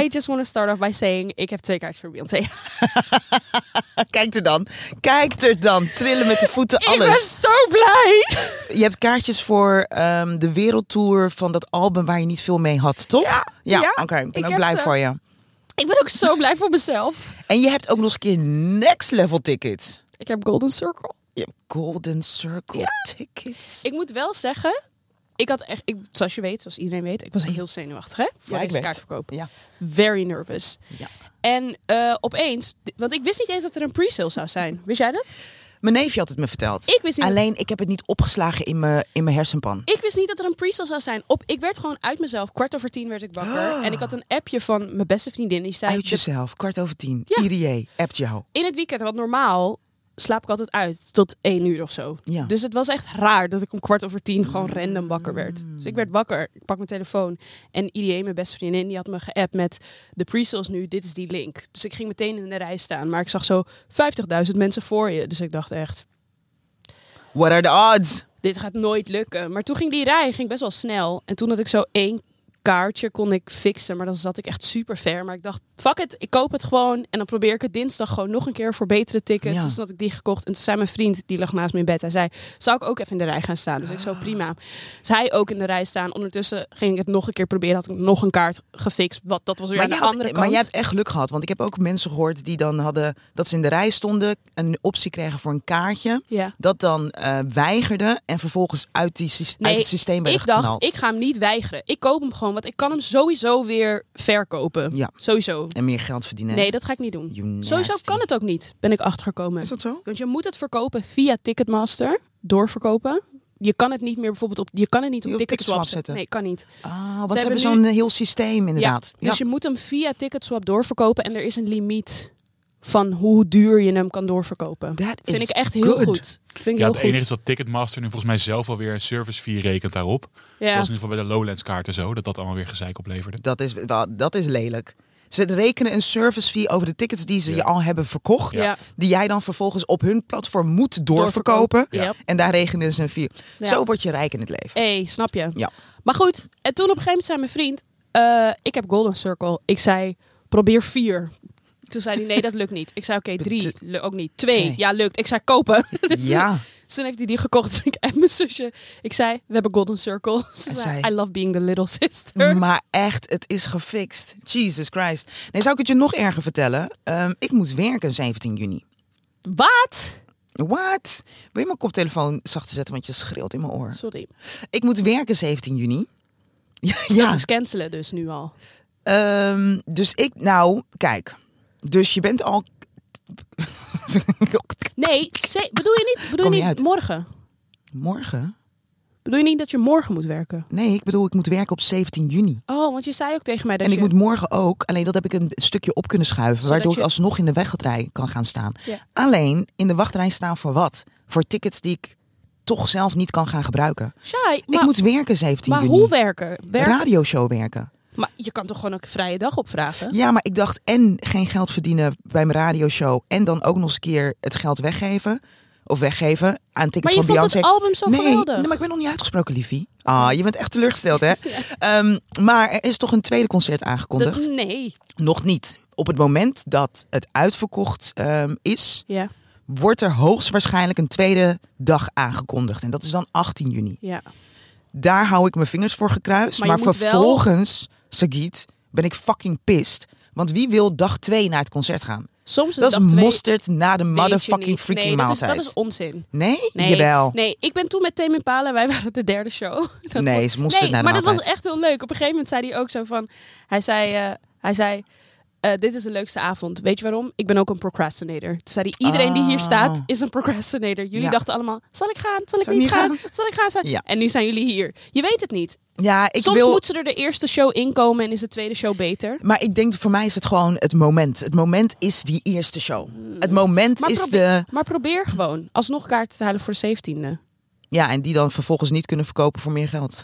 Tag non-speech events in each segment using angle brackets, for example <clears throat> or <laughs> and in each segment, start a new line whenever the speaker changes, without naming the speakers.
I just want to start off by saying, ik heb twee kaartjes voor Beyoncé. <laughs>
Kijk er dan. Kijk er dan. Trillen met de voeten,
Ik ben
alles.
zo blij.
Je hebt kaartjes voor ehm, de wereldtour van dat album waar je niet veel mee had, toch?
Ja, ja,
oké. Ik ben
ik
ook
heb
blij
ze.
voor je.
ik ben ook zo blij voor mezelf.
En je hebt ook nog eens een keer next level tickets.
Ik heb Golden Circle.
Je hebt Golden Circle
Ja.
tickets.
Ik moet wel zeggen, ik had echt, ik, zoals je weet, zoals iedereen weet, ik was heel zenuwachtig hè, voor
Ja, ik
deze
weet.
kaartverkoop.
Ja.
Very nervous.
Ja.
En eh, opeens, want ik wist niet eens dat er een pre-sale zou zijn. Wist jij dat?
Mijn neefje had het me verteld.
Ik wist niet-
Alleen ik heb het niet opgeslagen in mijn, in mijn hersenpan.
Ik wist niet dat er een pre-sale zou zijn. Op, ik werd gewoon uit mezelf. Kwart over tien werd ik wakker. En ik had een appje van mijn beste vriendin. Die zei,
Uit jezelf, kwart over tien.
Ja.
IDA, appt jou.
in het weekend, want normaal slaap ik altijd uit tot één uur of zo.
Ja.
Dus het was echt raar dat ik om kwart over tien gewoon random wakker werd. Dus ik werd wakker, ik pak mijn telefoon en IDA, mijn beste vriendin, die had me geappt met de pre-sales nu, dit is die link. Dus ik ging meteen in de rij staan, maar ik zag zo 50.000 mensen voor je. Dus ik dacht echt,
What are the odds?
dit gaat nooit lukken. Maar toen ging die rij ging best wel snel. En toen had ik zo één kaartje kon ik fixen, maar dan zat ik echt super ver. Maar ik dacht, fuck it, ik koop het gewoon. En dan probeer ik het dinsdag gewoon nog een keer voor betere tickets.
Ja.
Dus toen had ik die gekocht. En toen zei mijn vriend, die lag naast me in bed, hij zei, zou ik ook even in de rij gaan staan? Dus ik
Ah.
zo, prima. Dus hij ook in de rij staan. Ondertussen ging ik het nog een keer proberen. Had ik nog een kaart gefixt. Wat, dat was weer aan
jij
de
had- e-
andere kant.
maar jij hebt echt geluk gehad. Want ik heb ook mensen gehoord die dan hadden dat ze in de rij stonden, een optie kregen voor een kaartje.
Ja.
Dat dan eh weigerde en vervolgens uit, die, sys- uit het systeem werden
ik dacht,
geknald.
ik ga hem niet weigeren. Ik koop hem gewoon, want ik kan hem sowieso weer verkopen.
Ja.
Sowieso.
En meer geld verdienen.
Nee, dat ga ik niet doen.
You nasty.
Sowieso kan het ook niet, ben ik achtergekomen.
Is dat zo?
Want je moet het verkopen via Ticketmaster, doorverkopen. Je kan het niet meer bijvoorbeeld op, je kan het niet op
Niet op
Ticketswap
Ticketswap zetten.
zetten. Nee, kan niet.
Ah, want ze,
Ze
hebben
hebben
zo'n
nu-
heel systeem inderdaad.
Ja, dus je moet hem via Ticketswap doorverkopen en er is een limiet van hoe duur je hem kan doorverkopen.
That
Vind
is
ik echt heel
good.
goed. Vind ik
Ja,
heel
het enige
goed.
is dat Ticketmaster nu volgens mij zelf alweer een service fee rekent daarop.
Ja.
Dat was in ieder geval bij de Lowlands kaarten zo, dat dat allemaal weer gezeik opleverde.
Dat is, wel- dat is lelijk. Ze rekenen een service fee over de tickets die ze
Ja.
je al hebben verkocht.
Ja.
Die jij dan vervolgens op hun platform moet doorverkopen.
Doorverkopen, ja.
En daar rekenen ze een fee.
Ja.
Zo word je rijk in het leven.
hey, snap je?
Ja.
Maar goed, en toen op een gegeven moment zei mijn vriend, eh, ik heb Golden Circle. Ik zei, probeer vier. Toen zei hij, nee, dat lukt niet. Ik zei,
<laughs>
oké, drie, lu- ook niet. Twee,
Twee.
ja, lukt. Ik zei, kopen. <laughs> Dus
Ja.
Dus toen heeft hij die gekocht. Dus ik en mijn zusje. Ik zei, we hebben Golden Circle. <laughs> Ze
En
zei,
zij-
I love being the little sister.
Maar echt, het is gefixt. Jesus Christ. Nee, zou ik het je nog erger vertellen? Ehm, ik moet werken 17 juni.
Wat?
What? Wil je mijn koptelefoon zachter zetten, want je schreeuwt in mijn oor.
Sorry.
Ik moet werken 17 juni. <laughs> Ja, ja.
Dat is cancelen dus nu al.
Ehm, dus ik, nou, kijk. Dus je bent al... <laughs>
Nee, ze- bedoel je niet, bedoel
Kom
je
je
niet
uit?
morgen?
Morgen?
Bedoel je niet dat je morgen moet werken?
Nee, ik bedoel, ik moet werken op 17 juni.
Oh, want je zei ook tegen mij dat
En
je...
ik moet morgen ook, alleen dat heb ik een stukje op kunnen schuiven,
Zodat
waardoor
je-
ik alsnog in de wachtrij kan gaan staan.
Ja.
Alleen in de wachtrij staan voor wat? Voor tickets die ik toch zelf niet kan gaan gebruiken.
Shai, maar,
ik moet werken 17
maar
juni.
hoe werken? Werk-
Radioshow werken.
Maar je kan toch gewoon ook een vrije dag opvragen?
Ja, maar ik dacht en geen geld verdienen bij mijn radioshow en dan ook nog eens een keer het geld weggeven. Of weggeven aan
maar
tickets
je
van
vond
Beyoncé.
het album zo
nee,
geweldig.
nee, maar ik ben nog niet uitgesproken, liefie. Ah, je bent echt teleurgesteld,
<laughs>
hè? Ehm, maar er is toch een tweede concert aangekondigd?
Dat- nee.
Nog niet. Op het moment dat het uitverkocht ehm, is,
Ja,
wordt er hoogstwaarschijnlijk een tweede dag aangekondigd. En dat is dan 18 juni.
ja.
Daar hou ik mijn vingers voor gekruist.
Maar
Maar,
je moet wel-
vervolgens, Sagit, ben ik fucking pissed. Want wie wil dag 2 naar het concert gaan?
Soms is
Dat is
Dus dag twee,
mosterd na de
weet je
motherfucking
niet.
freaking
nee, dat is,
maaltijd.
dat is onzin.
Nee?
Nee,
Jawel.
nee, ik ben toen met Tame Impala, wij waren de derde show. <laughs> Dat
Nee,
vond-
ze moesten
nee,
naar de
maar dat was
maaltijd.
echt heel leuk. Op een gegeven moment zei hij ook zo van, hij zei, eh, hij zei eh, dit is de leukste avond. Weet je waarom? Ik ben ook een procrastinator. Toen zei hij, iedereen die hier staat
Ah.
is een procrastinator. Jullie
Ja.
dachten allemaal, zal ik gaan? Zal ik
Zal
niet gaan? Zal ik gaan? Zal-
Ja.
En nu zijn jullie hier. Je weet het niet.
Ja, ik
Soms
wil...
moet ze er de eerste show inkomen en is de tweede show beter.
Maar ik denk, voor mij is het gewoon het moment. Het moment is die eerste show. Het moment
Maar,
is
probeer,
de...
maar probeer gewoon alsnog kaarten te halen voor de 17e.
Ja, en die dan vervolgens niet kunnen verkopen voor meer geld.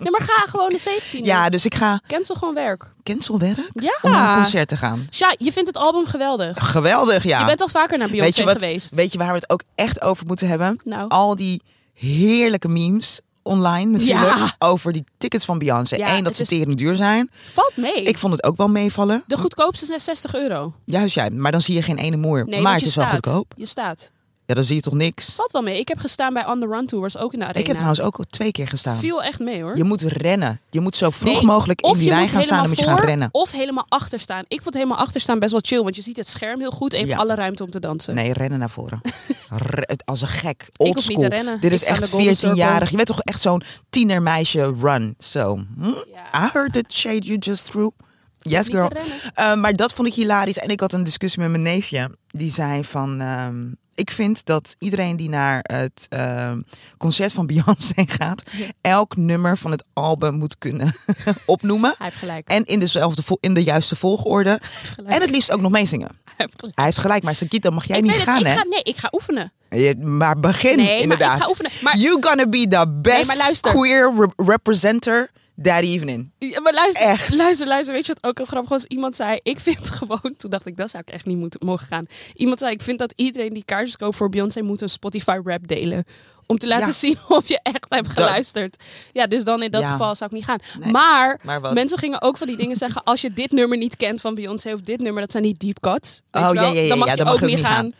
Nee, maar ga gewoon de 17e.
Ja, dus ik ga
Cancel gewoon werk.
cancel werk
Ja.
om naar een concert te gaan.
Sja, je vindt het album geweldig.
Geweldig, ja.
Je bent al vaker naar Beyoncé
weet je wat,
geweest.
Weet je waar we het ook echt over moeten hebben?
Nou.
Al die heerlijke memes online natuurlijk
Ja.
over die tickets van Beyoncé.
Ja,
Eén, dat
het
ze
is-
tering duur zijn.
Valt mee.
Ik vond het ook wel meevallen.
De goedkoopste is net 60 euro.
Juist jij, maar dan zie je geen ene moer.
Nee,
maar
want
het
je
is wel
staat.
goedkoop.
Je staat.
Ja, dan zie je toch niks.
Valt wel mee. Ik heb gestaan bij On The Run Tours, ook in de arena.
Ik heb trouwens ook al twee keer gestaan.
nou. Viel echt mee hoor.
Je moet rennen. Je moet zo vroeg
Nee,
mogelijk in
of
die
je
rij
moet
gaan staan. Dan
helemaal
moet je gaan
voor,
rennen.
Of helemaal achter staan. Ik vond helemaal achter staan best wel chill, want je ziet het scherm heel goed en je hebt
Ja.
alle ruimte om te dansen.
Nee, rennen naar
<laughs>
voren. Re- als een gek.
hoef
Old
niet te
school.
rennen.
Dit is
Ik sta
echt
aan de Golden
14-jarig.
Circle.
Je bent toch echt zo'n tienermeisje run. Zo. hm?
Ja.
I heard the shade you just threw. Yes,
Niet te
girl.
rennen.
Eh, maar dat vond ik hilarisch. En ik had een discussie met mijn neefje. Die zei van... ehm, ik vind dat iedereen die naar het ehm, concert van <laughs> Beyoncé gaat... elk nummer van het album moet kunnen <laughs> opnoemen.
Hij heeft gelijk.
En in, dezelfde, vo- in de juiste volgorde.
gelijk.
En het liefst ook nog meezingen.
Hij heeft gelijk.
Hij heeft gelijk, maar Sakita mag jij
ik
niet
weet het,
gaan,
ik
hè?
Ga, nee, ik ga oefenen.
Je- maar begin,
Nee, maar ik
inderdaad.
ga oefenen. Maar-
You're gonna be the best
maar luister.
queer re- representer that evening.
Ja, maar luister,
Echt.
luister, luister. Weet je wat ook heel grappig was? Iemand zei, ik vind <laughs> gewoon... Toen dacht ik, dat zou ik echt niet moeten, mogen gaan. Iemand zei, ik vind dat iedereen die kaartjes koopt voor Beyoncé... moet een Spotify rap delen. Om te laten
Ja.
zien <laughs> of je echt hebt geluisterd. Ja, dus dan in dat
Ja.
geval zou ik niet gaan.
Nee.
Maar,
Maar wat?
mensen gingen ook van die dingen zeggen... als je dit nummer niet kent van Beyoncé of dit nummer... dat zijn niet deep cuts. weet
Oh,
je wel,
ja, ja, ja,
Dan mag
ja,
je
dan mag
ook
je ook
niet
niet
gaan.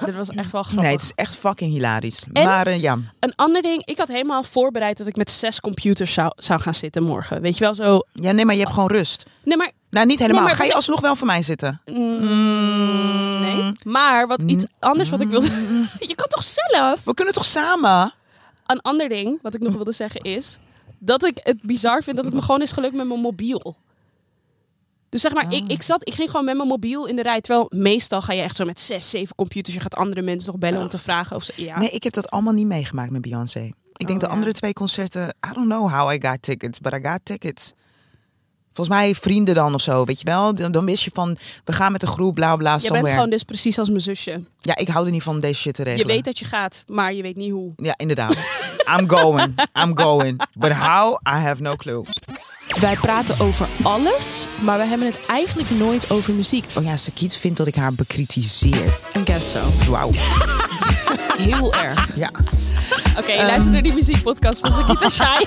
Dat was echt wel grappig.
Nee, het is echt fucking hilarisch.
En-
Maar eh, ja,
Een ander ding, ik had helemaal voorbereid... dat ik met zes computers zou, zou gaan zitten morgen. Weet je wel, zo...
ja, nee, maar je hebt gewoon rust.
Nee, maar
Nou, niet helemaal.
Nee, maar
Ga je
wat-
alsnog wel voor mij zitten?
Nee.
Mm.
Maar wat iets anders wat ik wilde. <laughs> je kan toch zelf?
We kunnen toch samen?
Een ander ding wat ik nog wilde zeggen is. Dat ik het bizar vind dat het me gewoon is gelukt met mijn mobiel. Dus zeg maar,
Ah.
ik, ik, zat, ik ging gewoon met mijn mobiel in de rij. Terwijl meestal ga je echt zo met zes, zeven computers. Je gaat andere mensen nog bellen om te vragen of ze. Ja.
Nee, ik heb dat allemaal niet meegemaakt met Beyoncé. Ik denk
Oh,
de
ja.
andere twee concerten, I don't know how I got tickets, but I got tickets. Volgens mij vrienden dan of zo, weet je wel? Dan, dan wist je van, we gaan met een groep, bla bla,
je bent
somewhere.
gewoon dus precies als mijn zusje.
Ja, ik hou er niet van om deze shit te
Je
regelen.
weet dat je gaat, maar je weet niet hoe.
Ja, inderdaad. I'm going. I'm going. But how? I have no clue.
Wij praten over alles, maar we hebben het eigenlijk nooit over muziek.
Oh ja, Sakiet vindt dat ik haar bekritiseer.
En guess so.
Wauw.
Heel <laughs> erg.
Ja.
Oké, luister naar die muziekpodcast van Sakita <laughs> Shai.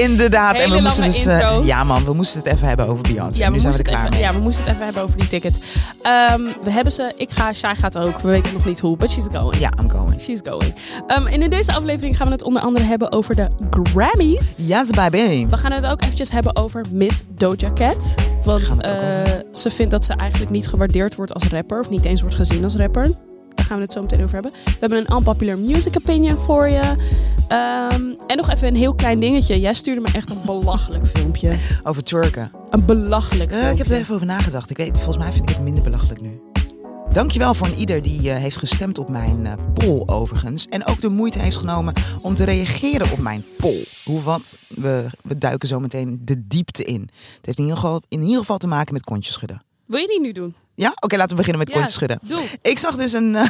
Inderdaad. en
Hele
we moesten
lange
dus... eh,
intro.
ja man, we moesten het even hebben over Beyoncé.
Ja, we
nu zijn we
moesten
er
het
klaar
even,
mee.
ja, we moesten het even hebben over die tickets. Ehm, we hebben ze. Ik ga, Shai gaat ook. We weten nog niet hoe, but she's going.
Ja, I'm going.
She's going. Ehm, en in deze aflevering gaan we het onder andere hebben over de Grammys.
Yes, baby.
We gaan het ook eventjes hebben over Miss Doja Cat. Want
Gaan we het ook
eh, ze vindt dat ze eigenlijk niet gewaardeerd wordt als rapper. Of niet eens wordt gezien als rapper. Daar gaan we het zo meteen over hebben. We hebben een unpopular music opinion voor je. Ehm, en nog even een heel klein dingetje. Jij stuurde me echt een belachelijk filmpje.
Over Turken.
Een belachelijk
Eh,
filmpje.
ik heb er even over nagedacht. Ik weet, volgens mij vind ik het minder belachelijk nu. Dankjewel voor ieder die eh, heeft gestemd op mijn eh, poll overigens. En ook de moeite heeft genomen om te reageren op mijn poll. Hoe wat, we, we duiken zo meteen de diepte in. Het heeft in ieder geval, in ieder geval te maken met kontjes schudden.
Wil je die nu doen?
Ja? Oké, laten we beginnen met kontjes schudden.
Doe.
Ik zag dus een. eh,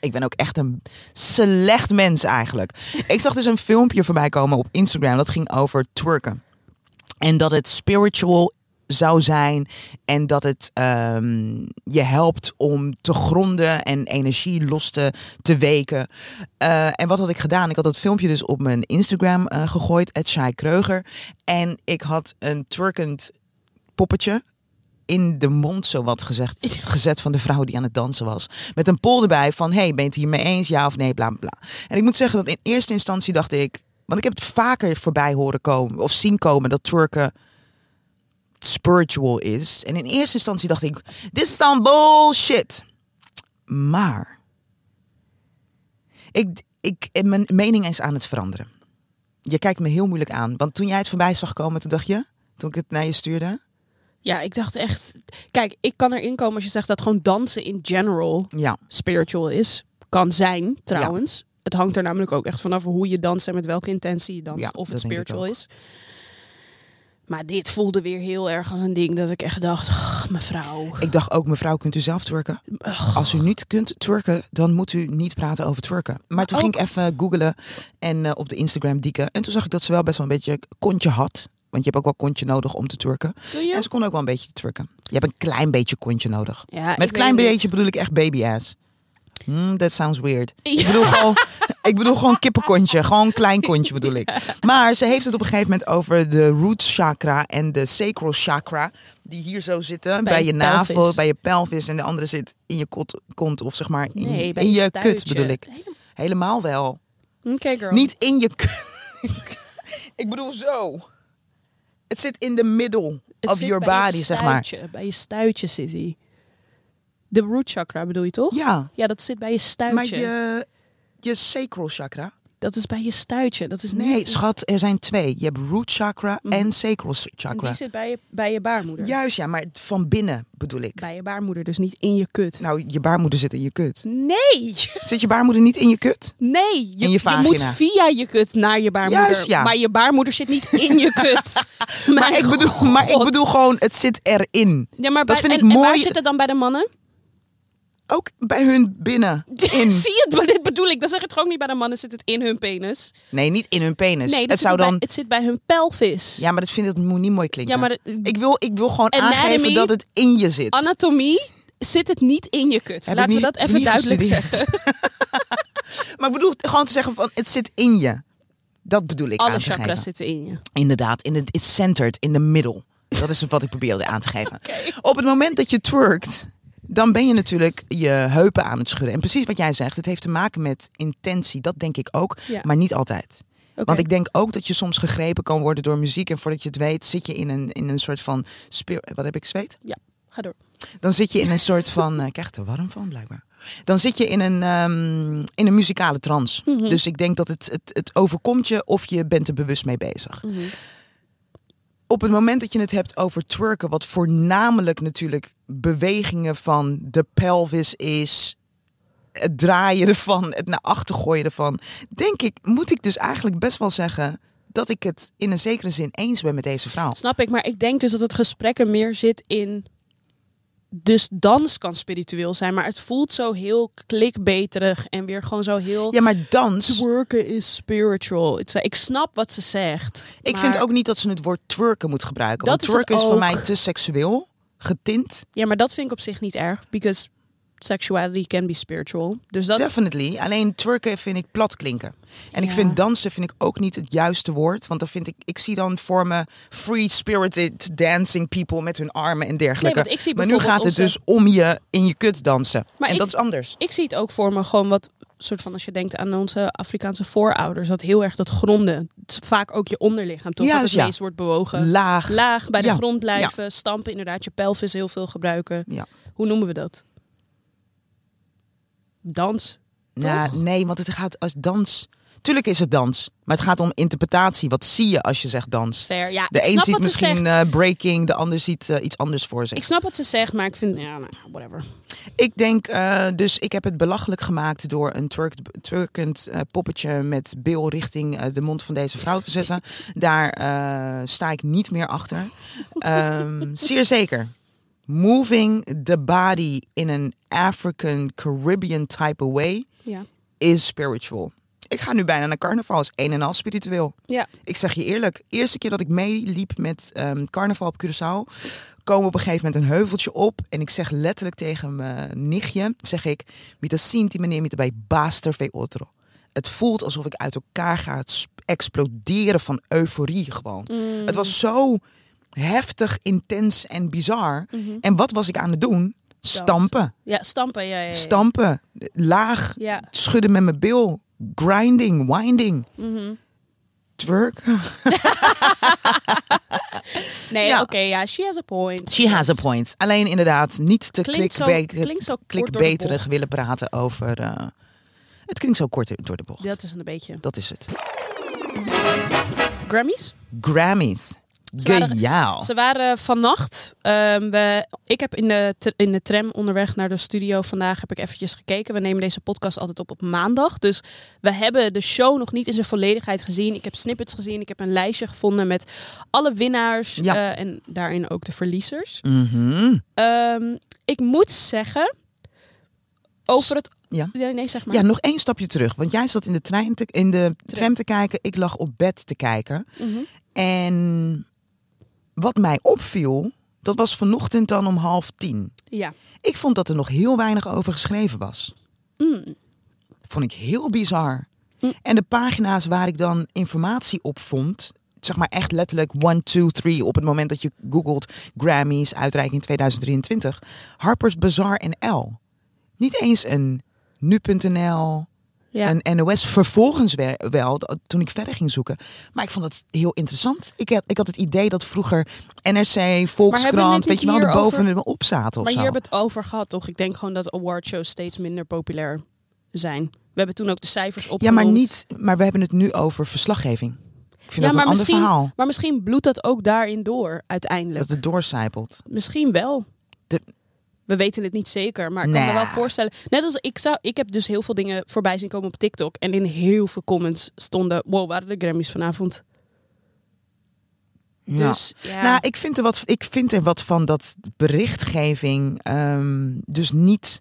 <laughs> ik ben ook echt een slecht mens eigenlijk. Ik zag dus een filmpje voorbij komen op Instagram. Dat ging over twerken. En dat het spiritual zou zijn. En dat het ehm, je helpt om te gronden en energie los te, te weken. Eh, en wat had ik gedaan? Ik had dat filmpje dus op mijn Instagram eh, gegooid. Het Shai Kreuger. En ik had een twerkend poppetje in de mond zowat gezegd, gezet van de vrouw die aan het dansen was. Met een poll erbij van, hey, ben je het hiermee eens? Ja of nee? Bla, bla, bla. En ik moet zeggen dat in eerste instantie dacht ik... Want ik heb het vaker voorbij horen komen of zien komen dat Turken spiritual is. En in eerste instantie dacht ik, dit is dan bullshit. Maar ik, ik, en mijn mening is aan het veranderen. Je kijkt me heel moeilijk aan. Want toen jij het voorbij zag komen, toen dacht je, toen ik het naar je stuurde...
Ja, ik dacht echt. Kijk, ik kan erin komen als je zegt dat gewoon dansen in general
Ja,
spiritual is. Kan zijn, trouwens. Het hangt er namelijk ook echt vanaf hoe je danst en met welke intentie je danst.
Ja,
of het
dat denk ik
spiritual
ook.
is. Maar dit voelde weer heel erg als een ding dat ik echt dacht, "Ugh, mevrouw.
Ik dacht ook, mevrouw, kunt u zelf twerken?
Ugh.
Als u niet kunt twerken, dan moet u niet praten over twerken. Maar toen
ook-
ging ik even googlen en eh, op de Instagram dieken. En toen zag ik dat ze wel best wel een beetje kontje had. Want je hebt ook wel kontje nodig om te twerken.
Doe je?
En ze kon ook wel een beetje twerken. Je hebt een klein beetje kontje nodig.
Ja, ik
Met
weet
klein
niet.
beetje bedoel ik echt baby ass. Hmm, that sounds weird.
Ja.
Ik bedoel
<laughs>
gewoon, ik bedoel gewoon kippenkontje. Gewoon een klein kontje bedoel ik. Maar ze heeft het op een gegeven moment over de root chakra en de sacral chakra. Die hier zo zitten. Bij,
Bij
je
je
navel,
pelvis.
bij je pelvis. En de andere zit in je kot, kont of zeg maar in,
Nee, bij
in je
stuitje.
kut bedoel ik.
Helemaal-
Helemaal wel.
Oké, girl.
Niet in je kut. <laughs> ik bedoel zo. Het zit in the middle
Het
of
zit
your
bij je
body zeg maar.
stuitje, Bij je stuitje zit hij. De root chakra bedoel je toch?
Ja,
Ja, dat zit bij je
maar
stuitje.
je, je sacral chakra.
Dat is bij je stuitje. Dat is
Nee,
niet-
schat, er zijn twee. Je hebt root chakra
Mhm.
en sacral s-
En
chakra.
die zit bij je, bij je baarmoeder.
Juist, ja, maar van binnen bedoel ik.
Bij je baarmoeder, dus niet in je kut.
Nou, je baarmoeder zit in je kut.
Nee!
Zit je baarmoeder niet in je kut?
Nee! Je,
In je vagina.
moet via je kut naar je baarmoeder.
Juist, ja.
Maar je baarmoeder zit niet in je kut.
<laughs> Maar
Mijn
ik, bedoel, maar ik
god.
bedoel gewoon, het zit erin.
Ja, maar
dat
bij-
vind ik
en, en waar
mooi.
zit het dan bij de mannen?
Ook bij hun binnen.
<laughs>
In.
Zie je, het? Maar dit bedoel ik. Dan zeg ik het gewoon niet bij de mannen. Zit het in hun penis?
Nee, niet in hun penis.
nee, dat
het
zit
zou
bij-
dan.
het zit bij hun pelvis.
Ja, maar dat vind ik dat moet niet mooi klinken.
Ja, maar dat-
ik, wil, ik wil gewoon
Anatomy-
aangeven dat het in je zit.
Anatomie zit het niet in je kut.
Heb ik
Laten
niet-
we dat even
niet
duidelijk
gestudeerd.
zeggen.
Maar ik bedoel gewoon te zeggen van het zit in je. Dat bedoel ik
Alle
aan te geven.
chakras zitten in je.
Inderdaad, in het it's centered, in de middel. Dat is wat ik probeerde aan te
<laughs>
geven. Op het moment dat je twerkt, dan ben je natuurlijk je heupen aan het schudden. En precies wat jij zegt, het heeft te maken met intentie. Dat denk ik ook,
Ja.
maar niet altijd.
Oké.
Want ik denk ook dat je soms gegrepen kan worden door muziek. En voordat je het weet, zit je in een, in een soort van... spe- Wat heb ik zweet?
Ja, ga door.
Dan zit je in een soort van... eh, Ik krijg er warm van, blijkbaar. Dan zit je in een, ehm, in een muzikale trance. Dus ik denk dat het, het, het overkomt je of je bent er bewust mee bezig op het moment dat je het hebt over twerken, wat voornamelijk natuurlijk bewegingen van de pelvis is, het draaien ervan, het naar achter gooien ervan, denk ik, moet ik dus eigenlijk best wel zeggen dat ik het in een zekere zin eens ben met deze vrouw.
Snap ik, maar ik denk dus dat het gesprek er meer zit in. Dus dans kan spiritueel zijn, maar het voelt zo heel klikbeterig en weer gewoon zo heel.
Ja, maar dans.
Twerken is spiritual. Het is- Ik snap wat ze zegt.
Ik
maar-
vind ook niet dat ze het woord twerken moet gebruiken.
Dat
Want
is het
twerken is voor
ook.
mij te seksueel getint.
Ja, maar dat vind ik op zich niet erg. Because sexuality can be spiritual. Dus dat.
Definitely. Alleen twerken vind ik plat klinken. En ik
Ja.
vind dansen vind ik ook niet het juiste woord. Want dan vind ik, ik zie dan voor me free spirited dancing people met hun armen en dergelijke.
Nee, want ik zie
maar nu gaat
bijvoorbeeld
het
onze-
dus om je in je kut dansen.
Maar
en
ik-
dat is anders.
Ik zie het ook voor me gewoon wat soort van als je denkt aan onze Afrikaanse voorouders, dat heel erg dat gronden. Het is Vaak ook je onderlichaam, toch?
Ja,
dat
dus
het
ja.
meest wordt bewogen.
Laag.
Laag bij de
Ja,
grond blijven, stampen inderdaad, je pelvis heel veel gebruiken.
Ja.
Hoe noemen we dat? Dans.
Nou, nee, want het gaat als dans. Tuurlijk is het dans. Maar het gaat om interpretatie. Wat zie je als je zegt dans?
Fair. Ja, ik
De een
snap
ziet
wat ze
misschien
zegt.
eh, breaking, de ander ziet eh, iets anders voor zich.
Ik snap wat ze zegt, maar ik vind, ja, nou, whatever.
Ik denk, eh, dus ik heb het belachelijk gemaakt door een twerk- twerkend eh, poppetje met bil richting eh, de mond van deze vrouw te zetten. Daar eh, sta ik niet meer achter. Ehm, zeer zeker. Moving the body in an African Caribbean type of way
Ja.
is spiritual. Ik ga nu bijna naar carnaval, is een en al spiritueel.
Ja.
Ik zeg je eerlijk, eerste keer dat ik meeliep met ehm, carnaval op Curaçao, komen we op een gegeven moment een heuveltje op. En ik zeg letterlijk tegen mijn nichtje, zeg ik, met dat zien die meneer met bij baaster ve otro. Het voelt alsof ik uit elkaar ga sp- exploderen van euforie gewoon.
Mm.
Het was zo heftig, intens en bizar.
Mhm.
En wat was ik aan het doen? Stampen.
Ja, stampen. Ja, ja, ja.
Stampen. Laag.
Ja.
Schudden met mijn bil. Grinding. Winding.
Mhm.
Twerk.
Nee,
Ja.
oké, ja, she has a point.
She has a
Yes.
point. Alleen inderdaad, niet te
Klinkt zo-
klikbe-
klinkt zo kort door de
klikbeterig
bocht.
willen praten over... eh, het klinkt zo kort door de bocht. Dat,
Dat is een beetje.
is het.
Grammys?
Grammys.
waren-
Gejaal.
Ze waren vannacht. ehm, we, ik heb in de, tr- in de tram onderweg naar de studio vandaag heb ik eventjes gekeken. We nemen deze podcast altijd op op maandag. Dus we hebben de show nog niet in zijn volledigheid gezien. Ik heb snippets gezien. Ik heb een lijstje gevonden met alle winnaars.
Ja.
eh, en daarin ook de verliezers.
Mhm.
Ehm, ik moet zeggen. Over het.
Ja.
Nee, nee, zeg maar.
Ja, nog één stapje terug. Want jij zat in de, trein te, in de tram te kijken. Ik lag op bed te kijken.
Mhm.
En wat mij opviel, dat was vanochtend dan om half tien.
ja.
Ik vond dat er nog heel weinig over geschreven was.
Mm.
vond ik heel bizar.
Hm.
En de pagina's waar ik dan informatie op vond, zeg maar echt letterlijk 1, 2, 3 op het moment dat je googelt Grammys uitreiking 2023, Harper's Bazaar en L. Niet eens een nu.nl,
Ja.
een NOS, vervolgens we- wel, d- toen ik verder ging zoeken. Maar ik vond het heel interessant. Ik had, ik had het idee dat vroeger NRC, Volkskrant,
niet
weet je wel, de
hierover-
boven en de op zaten of
maar
zo.
hier hebben we het over gehad, toch? Ik denk gewoon dat awardshows steeds minder populair zijn. We hebben toen ook de cijfers
Ja,
opgenomen.
maar niet, maar we hebben het nu over verslaggeving. Ik vind
Ja,
dat een
maar
ander
misschien-
verhaal.
Maar misschien bloedt dat ook daarin door, uiteindelijk.
Dat het doorcijpelt.
Misschien wel.
De-
We weten het niet zeker, maar ik kan me
Nah.
wel voorstellen. Net als ik zou, ik heb dus heel veel dingen voorbij zien komen op TikTok. En in heel veel comments stonden: Wow, waren de Grammys vanavond?
Ja.
Dus ja.
Nou, ik vind, er wat, ik vind er wat van dat berichtgeving ehm, dus niet...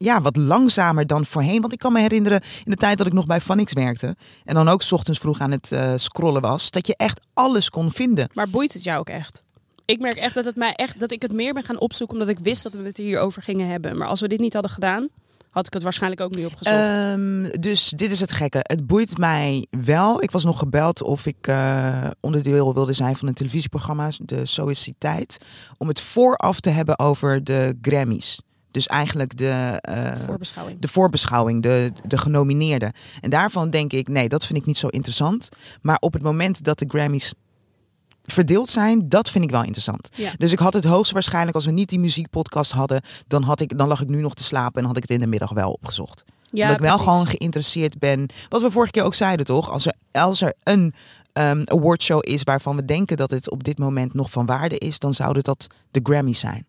Ja, wat langzamer dan voorheen. Want ik kan me herinneren in de tijd dat ik nog bij Vanix werkte... en dan ook 's ochtends vroeg aan het eh, scrollen was... dat je echt alles kon vinden.
Maar boeit het jou ook echt? Ik merk echt dat, het mij echt dat ik het meer ben gaan opzoeken omdat ik wist dat we het hierover gingen hebben. Maar als we dit niet hadden gedaan, had ik het waarschijnlijk ook niet opgezocht.
Ehm, dus dit is het gekke. Het boeit mij wel. Ik was nog gebeld of ik eh, onderdeel wilde zijn van een televisieprogramma, de Soïciteit. Om het vooraf te hebben over de Grammys. Dus eigenlijk de, eh,
Voorbeschouwing.
de voorbeschouwing, de, de genomineerden. En daarvan denk ik, nee, dat vind ik niet zo interessant. Maar op het moment dat de Grammys verdeeld zijn, dat vind ik wel interessant.
Ja.
Dus ik had het hoogstwaarschijnlijk, als we niet die muziekpodcast hadden, dan, had ik, dan lag ik nu nog te slapen en had ik het in de middag wel opgezocht.
Ja,
Omdat ik wel
precies.
gewoon geïnteresseerd ben. Wat we vorige keer ook zeiden, toch? Als er, als er een ehm, awardshow is waarvan we denken dat het op dit moment nog van waarde is, dan zouden dat de Grammys zijn.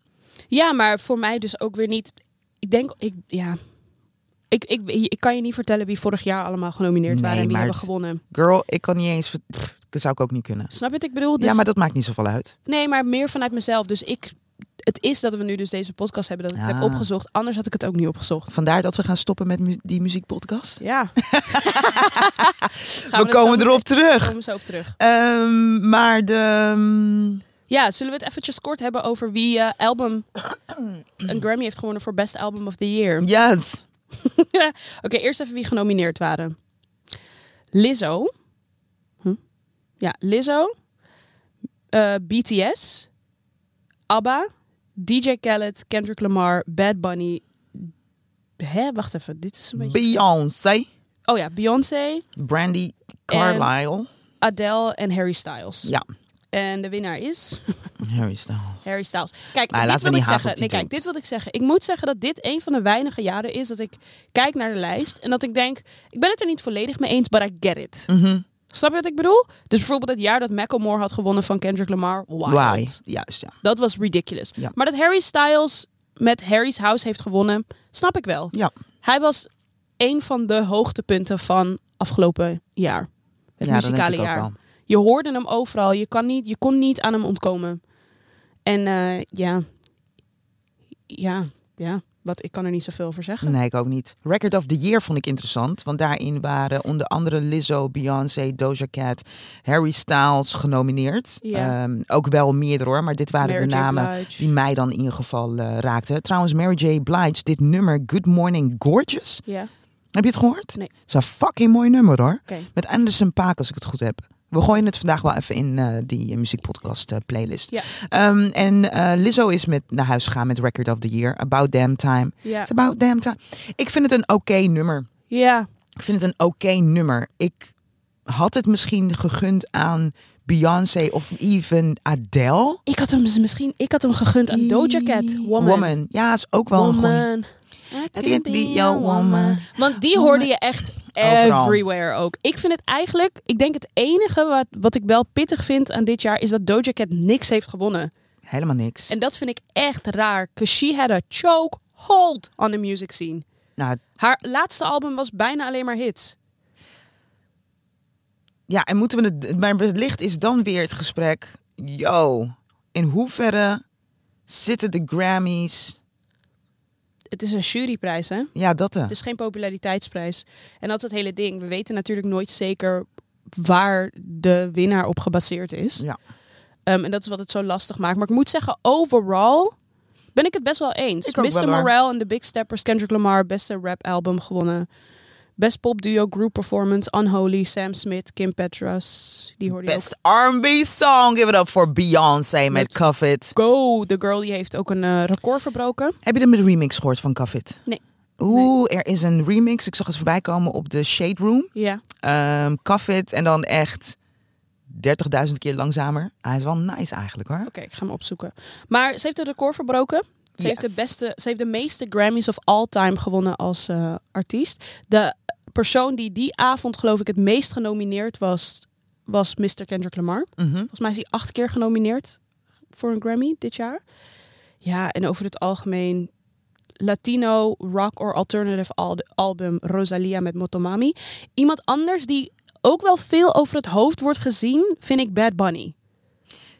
Ja, maar voor mij dus ook weer niet. Ik denk, ik, ja. Ik, ik, ik kan je niet vertellen wie vorig jaar allemaal genomineerd
Nee,
waren en wie
maar
hebben
het-
gewonnen.
Girl, ik kan niet eens... ver- Pff, dat zou ik ook niet kunnen.
Snap je wat ik bedoel? Dus,
Ja, maar dat maakt niet zoveel uit.
Nee, maar meer vanuit mezelf. Dus ik, het is dat we nu dus deze podcast hebben dat ik het
Ah.
heb opgezocht. Anders had ik het ook niet opgezocht.
Vandaar dat we gaan stoppen met mu- die muziekpodcast. <laughs>
Ja.
We komen erop
We
terug.
komen zo op terug.
Ehm, maar de... ehm,
Ja, zullen we het eventjes kort hebben over wie eh,
<clears throat>
album een Grammy heeft gewonnen voor Best Album of the Year?
Yes.
<laughs> Oké, eerst even wie genomineerd waren. Lizzo. Hm? Ja, Lizzo. Eh, BTS. ABBA. DJ Khaled. Kendrick Lamar. Bad Bunny. Hè, wacht even. Dit is een beetje...
Beyoncé.
Oh ja, Beyoncé,
Brandy Carlisle.
Adele en Harry Styles.
Ja,
En de winnaar is
Harry Styles.
Harry Styles. Kijk,
Maar
dit
laten we
wil
niet
ik
haten op
zeggen.
die
Nee, kijk,
dude.
dit wil ik zeggen. Ik moet zeggen dat dit een van de weinige jaren is dat ik kijk naar de lijst en dat ik denk, ik ben het er niet volledig mee eens, but I get it.
Mhm.
Snap je wat ik bedoel? Dus bijvoorbeeld het jaar dat Macklemore had gewonnen van Kendrick Lamar, wild.
Why? Juist, ja.
Dat was ridiculous.
Ja.
Maar dat Harry Styles met Harry's House heeft gewonnen, snap ik wel.
Ja,
Hij was een van de hoogtepunten van afgelopen jaar. Het
ja dat denk
muzikale
ik ook
jaar.
wel.
Je hoorde hem overal. Je, kan niet, je kon niet aan hem ontkomen. En eh, ja. Ja, ja. Wat, ik kan er niet zoveel over zeggen.
Nee, ik ook niet. Record of the Year vond ik interessant. Want daarin waren onder andere Lizzo, Beyoncé, Doja Cat, Harry Styles genomineerd.
Ja.
Ehm, ook wel meerdere hoor, maar dit waren
Mary
de
J.
namen
Blige.
die mij dan in ieder geval eh, raakten. Trouwens, Mary J. Blige, dit nummer Good Morning Gorgeous.
Ja,
Heb je het gehoord?
Nee.
Het is een fucking mooi nummer hoor.
oké.
Met Anderson Paak, als ik het goed heb. We gooien het vandaag wel even in eh, die eh, muziekpodcast eh, playlist.
Ja.
Ehm, en eh, Lizzo is met naar huis gegaan met Record of the Year. About Damn Time.
Ja.
It's about damn time. Ik vind het een oké nummer.
ja,
Ik vind het een oké nummer. Ik had het misschien gegund aan Beyoncé of even Adele.
ik had hem dus misschien ik had hem gegund aan Doja Cat. Woman.
Ja, is ook wel een goeie.
Woman. I can be your woman. Want die
Woman.
hoorde je echt
Overal.
everywhere ook. Ik vind het eigenlijk, ik denk het enige wat, wat ik wel pittig vind aan dit jaar is dat Doja Cat niks heeft gewonnen.
Helemaal niks.
En dat vind ik echt raar. Because she had a choke hold on the music scene.
nou,
Haar laatste album was bijna alleen maar hits.
ja, en moeten we het... Maar wellicht is dan weer het gesprek... Yo, in hoeverre zitten de Grammys...
Het is een juryprijs, hè?
Ja, dat eh. hè.
Het is geen populariteitsprijs. En dat is het hele ding. We weten natuurlijk nooit zeker waar de winnaar op gebaseerd is.
Ja.
Ehm, en dat is wat het zo lastig maakt. Maar ik moet zeggen, overall Ben ik het best wel eens.
Ik ook
Mr.
wel, hoor.
Morale en The Big Steppers, Kendrick Lamar, beste rap album gewonnen. Best pop duo, group performance, Unholy, Sam Smith, Kim Petras. Die hoorde je ook.
Best R&B song. Give it up for Beyoncé met
Met-
Covet.
Go, The Girl, die heeft ook een eh, record verbroken.
Heb je de remix gehoord van Covet?
Nee.
Oeh, er is een remix. Ik zag het voorbij komen op de Shade Room.
Ja.
Ehm Covet en dan echt 30.000 keer langzamer. Ah, Hij is wel nice eigenlijk hoor.
Oké, ik ga hem opzoeken. Maar ze heeft een record verbroken. Ze, heeft, de
Yes.
beste, ze heeft de meeste Grammys of all time gewonnen als eh, artiest. De persoon die die avond geloof ik het meest genomineerd was, was Mr. Kendrick Lamar.
Mhm.
Volgens mij is hij acht keer genomineerd voor een Grammy dit jaar. Ja, en over het algemeen Latino, rock or alternative al- album Rosalia met Motomami. Iemand anders die ook wel veel over het hoofd wordt gezien, vind ik Bad Bunny.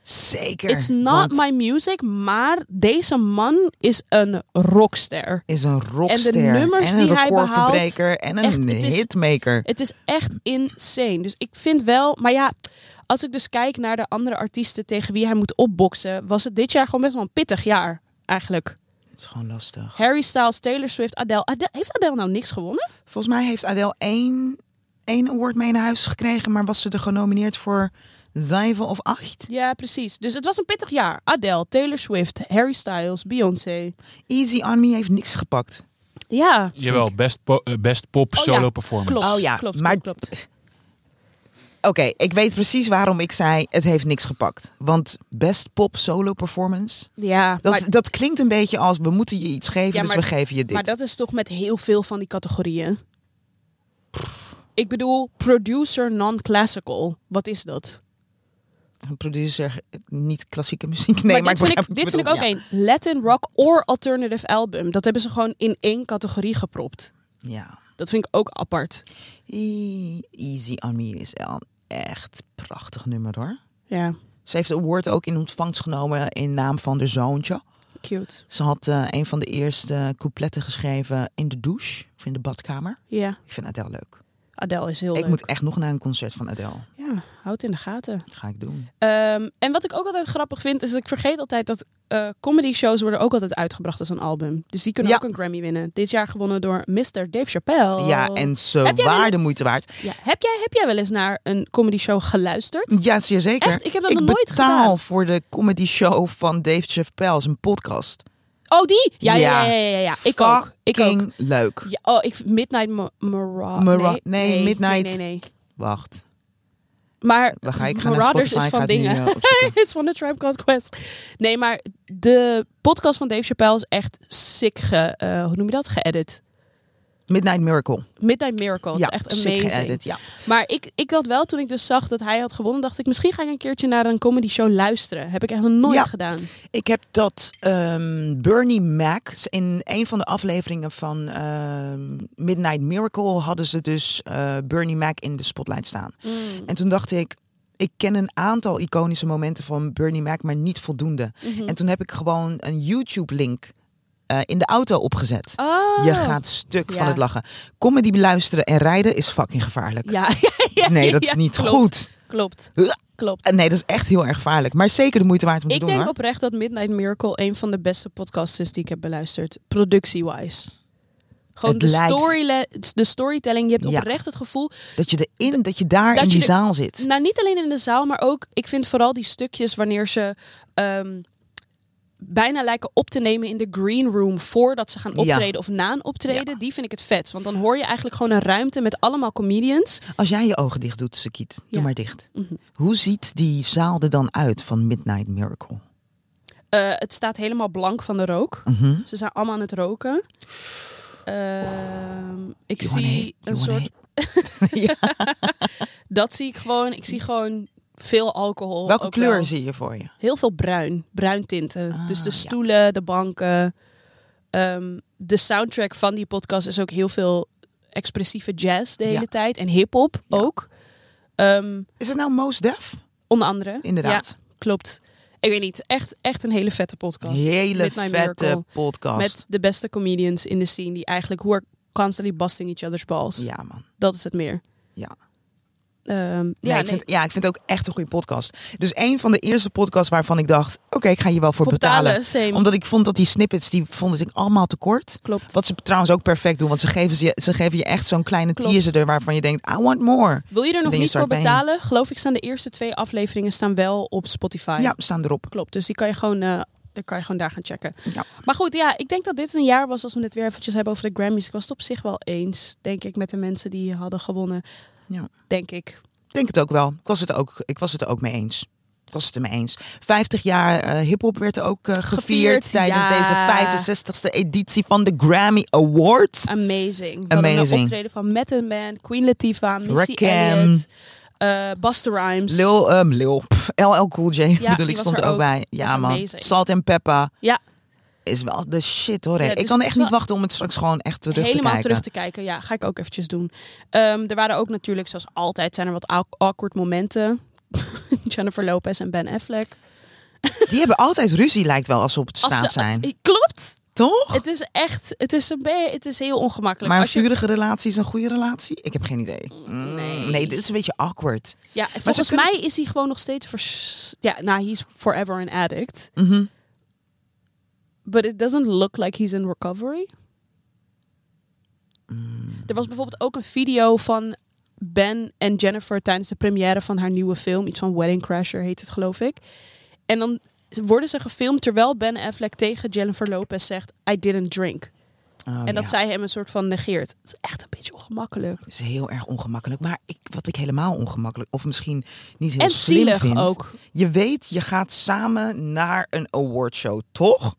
Zeker.
It's not
want
my music, maar deze man is een rockster.
is een rockster
nummers
en een
die hij behaalt,
recordverbreker en een
echt, het is-
hitmaker.
Het is echt insane. Dus ik vind wel, maar ja, als ik dus kijk naar de andere artiesten tegen wie hij moet opboksen, was het dit jaar gewoon best wel een pittig jaar eigenlijk.
Het is gewoon lastig.
Harry Styles, Taylor Swift, Adele. Ade- heeft Adele nou niks gewonnen?
Volgens mij heeft Adele één, één award mee naar huis gekregen, maar was ze er genomineerd voor zeven of acht?
Ja, precies. Dus het was een pittig jaar. Adele, Taylor Swift, Harry Styles, Beyoncé.
Easy on Me heeft niks gepakt.
Ja,
Jawel, best, po- eh, best pop
ja,
solo performance.
klopt.
oh ja,
klopt,
maar
klopt, klopt.
<laughs> Oké, ik weet precies waarom ik zei het heeft niks gepakt. Want best pop solo performance,
ja.
dat,
maar,
dat klinkt een beetje als we moeten je iets geven,
Ja,
dus
maar-
we geven je dit.
maar dat is toch met heel veel van die categorieën. Ik bedoel, producer non-classical. Wat is dat?
Een producer, niet klassieke muziek. Nee, maar,
dit vind
begrijp
ik,
wat
dit
je
vind ik
bedoelt,
ook
ja.
één. Latin rock or alternative album. Dat hebben ze gewoon in één categorie gepropt.
Ja.
Dat vind ik ook apart.
E- Easy on Me is wel een echt prachtig nummer hoor.
Ja,
Ze heeft de award ook in ontvangst genomen in naam van haar zoontje.
cute.
Ze had eh, een van de eerste coupletten geschreven in de douche of in de badkamer.
Ja,
Ik vind Adele leuk.
Adele is heel
Ik
leuk.
moet echt nog naar een concert van Adele.
Ja, houd in de gaten.
Dat ga ik doen.
Ehm, en wat ik ook altijd grappig vind, is dat ik vergeet altijd dat eh, comedy shows worden ook altijd uitgebracht als een album. Dus die kunnen
Ja.
ook een Grammy winnen. Dit jaar gewonnen door Mr. Dave Chappelle.
Ja, en ze
Oh. Heb jij
waar
wel-
de moeite waard.
Ja, heb, jij, heb jij wel eens naar een comedy show geluisterd?
Ja, zeer zeker.
Echt? Ik heb dat
ik
nog nooit
betaal
gedaan.
voor de comedy show van Dave Chappelle, is een podcast.
Oh, die? Ja, ja,
Ja.
ja, ja. ja, ja. Ik ook. Ik ook.
Fucking leuk.
Ja, oh, ik, Midnight Ma- Mara-
Mara-
nee,
nee, Midnight-
Nee, nee, nee.
Wacht,
Maar
we gaan, ik ga naar
Marauders
Spotify.
is
ik ga
van
het nu,
dingen. <laughs>
eh, opzoeken.
is van de Tribe Called Quest. Nee, maar de podcast van Dave Chappelle is echt sick ge... eh, hoe noem je dat? Geëdit.
Midnight Miracle.
Midnight Miracle. Oh, het is echt
sick
amazing.
geëdit, ja.
Maar ik, ik had wel, toen ik dus zag dat hij had gewonnen, dacht ik, misschien ga ik een keertje naar een comedy show luisteren. Heb ik echt nog nooit
Ja.
gedaan.
Ik heb dat ehm, Bernie Mac in een van de afleveringen van ehm, Midnight Miracle hadden ze dus eh, Bernie Mac in de spotlight staan.
Mm.
En toen dacht ik, ik ken een aantal iconische momenten van Bernie Mac, maar niet voldoende.
Mhm.
En toen heb ik gewoon een YouTube-link eh, in de auto opgezet.
Oh.
Je gaat stuk
Ja.
van het lachen. Comedy beluisteren en rijden is fucking gevaarlijk.
Ja, ja, <laughs> ja,
nee, dat is
ja,
niet
klopt,
goed.
Klopt,
Huh?
klopt.
Nee, dat is echt heel erg gevaarlijk. Maar zeker de moeite waard om te
Ik
doen.
denk
hoor.
oprecht dat Midnight Miracle een van de beste podcasts is die ik heb beluisterd. Productie-wise. Gewoon
Het
de,
lijkt-
storyla- de storytelling. Je hebt
Ja.
oprecht het gevoel.
Dat je, erin, dat je daar
dat
in
je
die
de-
zaal zit.
Nou, niet alleen in de zaal, maar ook. Ik vind vooral die stukjes wanneer ze. ehm, bijna lijken op te nemen in de green room voordat ze gaan
Ja.
optreden of na een optreden, die vind ik het vet. Want dan hoor je eigenlijk gewoon een ruimte met allemaal comedians.
Als jij je ogen dicht doet, Sakiet, doe
Mm. Ja. Mhm.
maar dicht. Hoe ziet die zaal er dan uit van Midnight Miracle?
Eh, het staat helemaal blank van de rook.
Mhm.
Ze zijn allemaal aan het roken. Ehm, ik
You wanna hit,
zie
you
een
wanna
soort.
hit. Ja.
Dat zie ik gewoon. Ik zie gewoon veel alcohol.
Welke
ook
kleur
wel.
zie je voor je?
Heel veel bruin. Bruin tinten.
Ah,
dus de
ja.
stoelen, de banken. Ehm, de soundtrack van die podcast is ook heel veel expressieve jazz de
Ja.
hele tijd. En hip-hop
Ja.
ook. Ehm,
Is het nou Moos Def?
onder andere.
Inderdaad.
Ja, klopt. Ik weet niet. Echt, echt een hele vette podcast.
Hele
Midnight
vette
Miracle.
podcast.
Met de beste comedians in de scene die eigenlijk who are constantly busting each other's balls.
Ja, man.
Dat is het meer.
Ja.
ehm,
Nee,
ja,
ik
nee,
vind, ja, ik vind het ook echt een goede podcast. Dus een van de eerste podcasts waarvan ik dacht, oké, ik ga hier wel voor,
voor
betalen.
betalen, same.
Omdat ik vond dat die snippets, die vond ik allemaal te kort.
Klopt.
Wat ze trouwens ook perfect doen, want ze geven, ze, ze geven je echt zo'n kleine
Klopt.
teaser er waarvan je denkt, I want more.
Wil je er nog
Ben je
niet voor
Sardijn?
betalen? Geloof ik staan de eerste twee afleveringen staan wel op Spotify.
Ja, we staan erop.
Klopt, dus die kan je gewoon, eh, daar kan je gewoon daar gaan checken.
Ja.
Maar goed, ja, ik denk dat dit een jaar was als we het weer eventjes hebben over de Grammys. Ik was het op zich wel eens, denk ik, met de mensen die hadden gewonnen.
Ja.
Denk ik.
Ik denk het ook wel. Ik was het, ook, ik was het er ook mee eens. Ik was het er mee eens. 50 jaar eh hip-hop werd er ook eh, gevierd,
Gevierd,
tijdens
ja.
deze 65ste editie van de Grammy Awards.
Amazing. We hadden
Amazing.
Een optreden van Method Man, Queen Latifah, Missy
Rakim.
Elliott, eh Busta Rhymes.
Lil, ehm, Lil, pff, LL Cool J bedoel
die
ik,
was
stond
er
er ook
ook.
bij. Ja
Was
man,
amazing.
Salt en Pepper
Ja.
is wel de shit hoor. hè.
Ja, dus
ik kan
het
echt
is
niet
wel-
wachten om het straks gewoon echt terug te
Helemaal
kijken.
terug te kijken. Ja, ga ik ook eventjes doen. Ehm, er waren ook natuurlijk, zoals altijd, zijn er wat au- awkward momenten. <laughs> Jennifer Lopez en Ben Affleck.
Die hebben altijd ruzie lijkt wel als ze op het
Als
straat
ze-
zijn.
eh, Klopt.
Toch?
Het is echt, het is, een, be- het is heel ongemakkelijk.
Maar een
Als je-
vurige relatie is een goede relatie? Ik heb geen idee. Mm,
Nee.
Nee, dit is een beetje awkward.
ja, volgens
kunnen-
mij is hij gewoon nog steeds... Vers, ja, nou, he's forever an addict.
Mhm.
But it doesn't look like he's in recovery.
Mm.
Er was bijvoorbeeld ook een video van Ben en Jennifer tijdens de première van haar nieuwe film. Iets van Wedding Crasher heet het, geloof ik. En dan worden ze gefilmd terwijl Ben Affleck tegen Jennifer Lopez zegt... I didn't drink.
Oh,
en dat
ja.
zij hem een soort van negeert. Het is echt een beetje ongemakkelijk.
is heel erg ongemakkelijk. Maar ik, wat ik helemaal ongemakkelijk, of misschien niet heel
En
slim
zielig
vind.
ook.
Je weet, je gaat samen naar een awardshow, toch?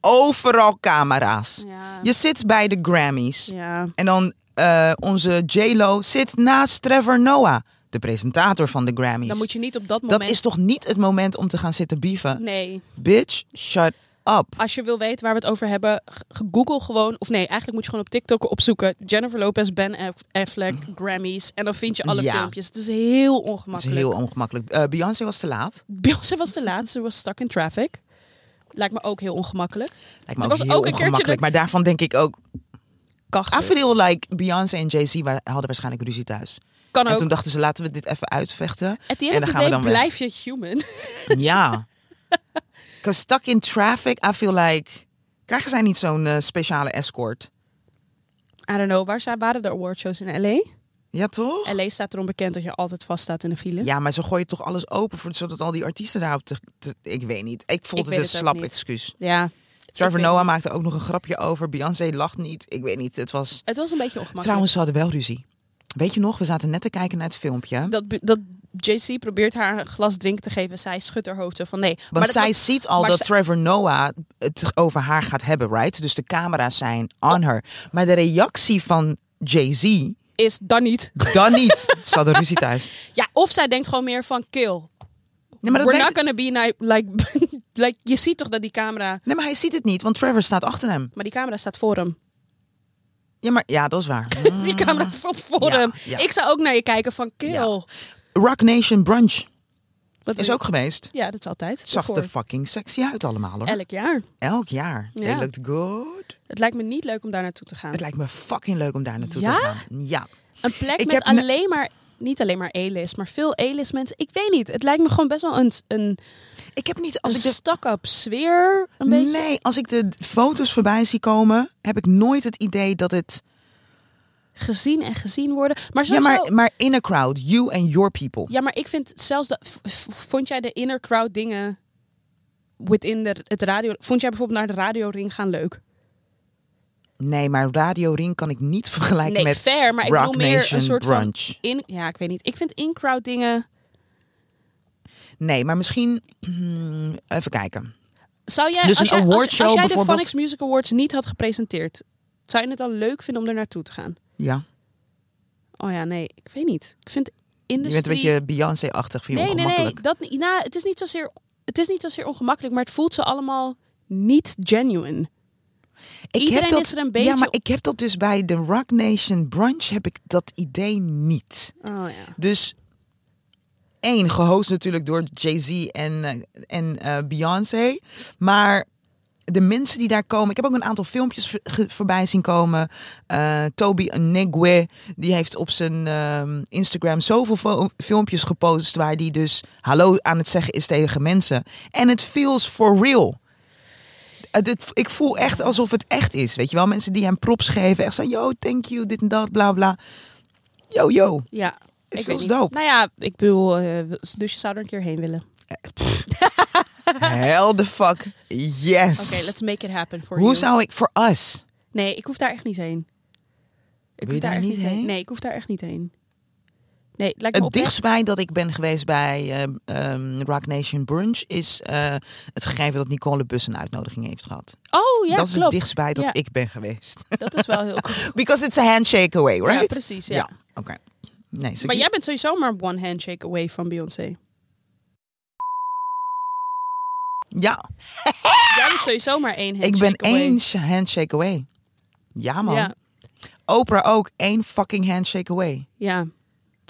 Overal camera's.
Ja.
Je zit bij de Grammys.
ja.
En dan eh, onze J-Lo zit naast Trevor Noah, de presentator van de Grammys.
Dan moet je niet op dat moment...
Dat is toch niet het moment om te gaan zitten bieven?
Nee.
Bitch, shut up.
Als je wil weten waar we het over hebben, g- g- google gewoon. Of nee, eigenlijk moet je gewoon op TikTok opzoeken. Jennifer Lopez, Ben Aff- Affleck, Grammys. En dan vind je alle
Ja.
filmpjes. Het is heel
Dat is
ongemakkelijk.
heel ongemakkelijk. Eh, Beyoncé was te laat.
Beyoncé was de laatste, was stuck in traffic. Lijkt me ook heel ongemakkelijk.
Lijkt me
Er
ook
was
heel
ook een keertje dat-
ongemakkelijk. Maar daarvan denk ik ook... I
Kachtig.
feel like Beyoncé en Jay-Z wa- hadden waarschijnlijk ruzie thuis.
Kan
En
ook.
toen dachten ze, laten we dit even
<laughs>
uitvechten.
At the end
en dan
of the
gaan we
day
dan weg.
blijf je human. <laughs>
Ja. Cause stuck in traffic, I feel like... Krijgen zij niet zo'n eh, speciale escort?
I don't know, waar zijn, waren de awardshows in L.A.?
Ja, toch?
L.A. staat erom bekend dat je altijd vaststaat in de file.
Ja, maar ze gooien toch alles open, voor, zodat al die artiesten daarop te, te- Ik weet niet. Ik vond
Ik
het
weet
een
het ook
slap
niet.
excuus.
Ja. Ik
Trevor
weet
Noah
niet.
maakte ook nog een grapje over. Beyoncé lacht niet. Ik weet niet. Het was...
Het was een beetje ongemakkelijk.
Trouwens, ze hadden wel ruzie. Weet je nog, we zaten net te kijken naar het filmpje.
dat, dat JC probeert haar een glas drinken te geven. Zij schudt haar hoofd zo van nee. Maar
Want
dat
zij
was-
ziet al
maar
dat
zij-
Trevor Noah het over haar gaat hebben, right? Dus de camera's zijn
Oh.
on her. Maar de reactie van Jay-Z,
is dan niet.
dan
<laughs>
niet. Ze hadden ruzie thuis.
Ja, of zij denkt gewoon meer van kill.
Nee maar, dat
We're
weet-
not gonna be ni- like, <laughs> like... Je ziet toch dat die camera...
nee, maar hij ziet het niet, want Trevor staat achter hem.
Maar die camera staat voor hem.
Ja, maar, ja dat is waar.
<laughs> Die camera stond voor
Ah. Ja,
hem.
ja.
Ik zou ook naar je kijken van kill.
Ja. Rock Nation Brunch
Wat
is ook geweest.
Ja, dat is altijd.
Zag er
Daarvoor.
fucking sexy uit allemaal hoor.
Elk jaar.
Elk jaar.
Ja.
They looked good.
Het lijkt me niet leuk om daar naartoe te gaan.
Het lijkt me fucking leuk om daar naartoe
Ja?
te gaan. Ja.
Een plek
Ik
met
heb ne-
alleen maar... Niet alleen maar E-list, maar veel E-list mensen. Ik weet niet. Het lijkt me gewoon best wel een, een,
Ik heb niet,
een
als ik de
stak-up sfeer. Een beetje.
Nee, als ik de foto's voorbij zie komen, heb ik nooit het idee dat het.
gezien en gezien worden. Maar
Ja,
sowieso...
maar, maar in a crowd, you and your people.
Ja, maar ik vind zelfs dat. v- v- Vond jij de inner crowd dingen within de, het radio? Vond jij bijvoorbeeld naar de radioring gaan leuk?
Nee, maar Radio Ring kan ik niet vergelijken
nee,
met
fair, maar ik
Rock
bedoel meer
Nation
een soort
brunch.
van in. Ja, ik weet niet. Ik vind in crowd dingen.
Nee, maar misschien hmm, even kijken.
Zou jij
Dus
als,
een
jij, als,
awardshow
als jij de
bijvoorbeeld?
Phonics Music Awards niet had gepresenteerd, zou je het dan leuk vinden om er naartoe te gaan?
Ja,
Oh ja, nee, ik weet niet. Ik vind
je
industrie.
bent een beetje Beyoncé-achtig, vind je
nee, nee, nee,
ongemakkelijk.
dat niet. Nou, het is niet zozeer. Het is niet zozeer ongemakkelijk, maar het voelt ze allemaal niet genuine.
Ik
Iedereen
heb dat,
is er een beetje-
Ja, maar ik heb dat dus bij de Rock Nation brunch heb ik dat idee niet.
Oh ja.
Dus één, gehost natuurlijk door Jay-Z en, eh, en eh, Beyoncé. Maar de mensen die daar komen. Ik heb ook een aantal filmpjes v- ge- voorbij zien komen. Eh, Toby Negwe, die heeft op zijn ehm, Instagram zoveel fo- filmpjes gepost. waar die dus hallo aan het zeggen is tegen mensen. En het feels for real. Eh, dit, ik voel echt alsof het echt is. Weet je wel, mensen die hem props geven. Echt zo, yo, thank you, dit en dat, bla bla. Yo, yo.
Ja.
It
Ik
feels
weet niet.
dope.
Nou ja, ik bedoel, eh, dus je zou er een keer heen willen. Oké,
Hell the fuck. Yes.
let's make it happen for
Hoe
you.
zou ik, voor us.
Nee, ik hoef daar echt niet heen. Ik
Wil je daar niet heen?
Nee, ik hoef daar echt niet heen. Nee, lijkt me
Het
oprecht-
dichtstbij dat ik ben geweest bij eh, ehm, Rock Nation Brunch is eh, het gegeven dat Nicole Bus een uitnodiging heeft gehad.
Oh ja,
dat is het
klopt.
dichtstbij dat
Ja.
ik ben geweest.
<laughs>
<laughs>
Dat is wel heel cool.
Because it's a handshake away, right?
Ja, precies. Ja.
Ja. Oké. Nee, ze-
Maar jij bent sowieso maar one handshake away van Beyoncé.
Ja,
Jij bent sowieso maar één
ik
handshake
ben
away.
één sh- handshake away. Ja man.
Ja,
Oprah ook één fucking handshake away.
ja.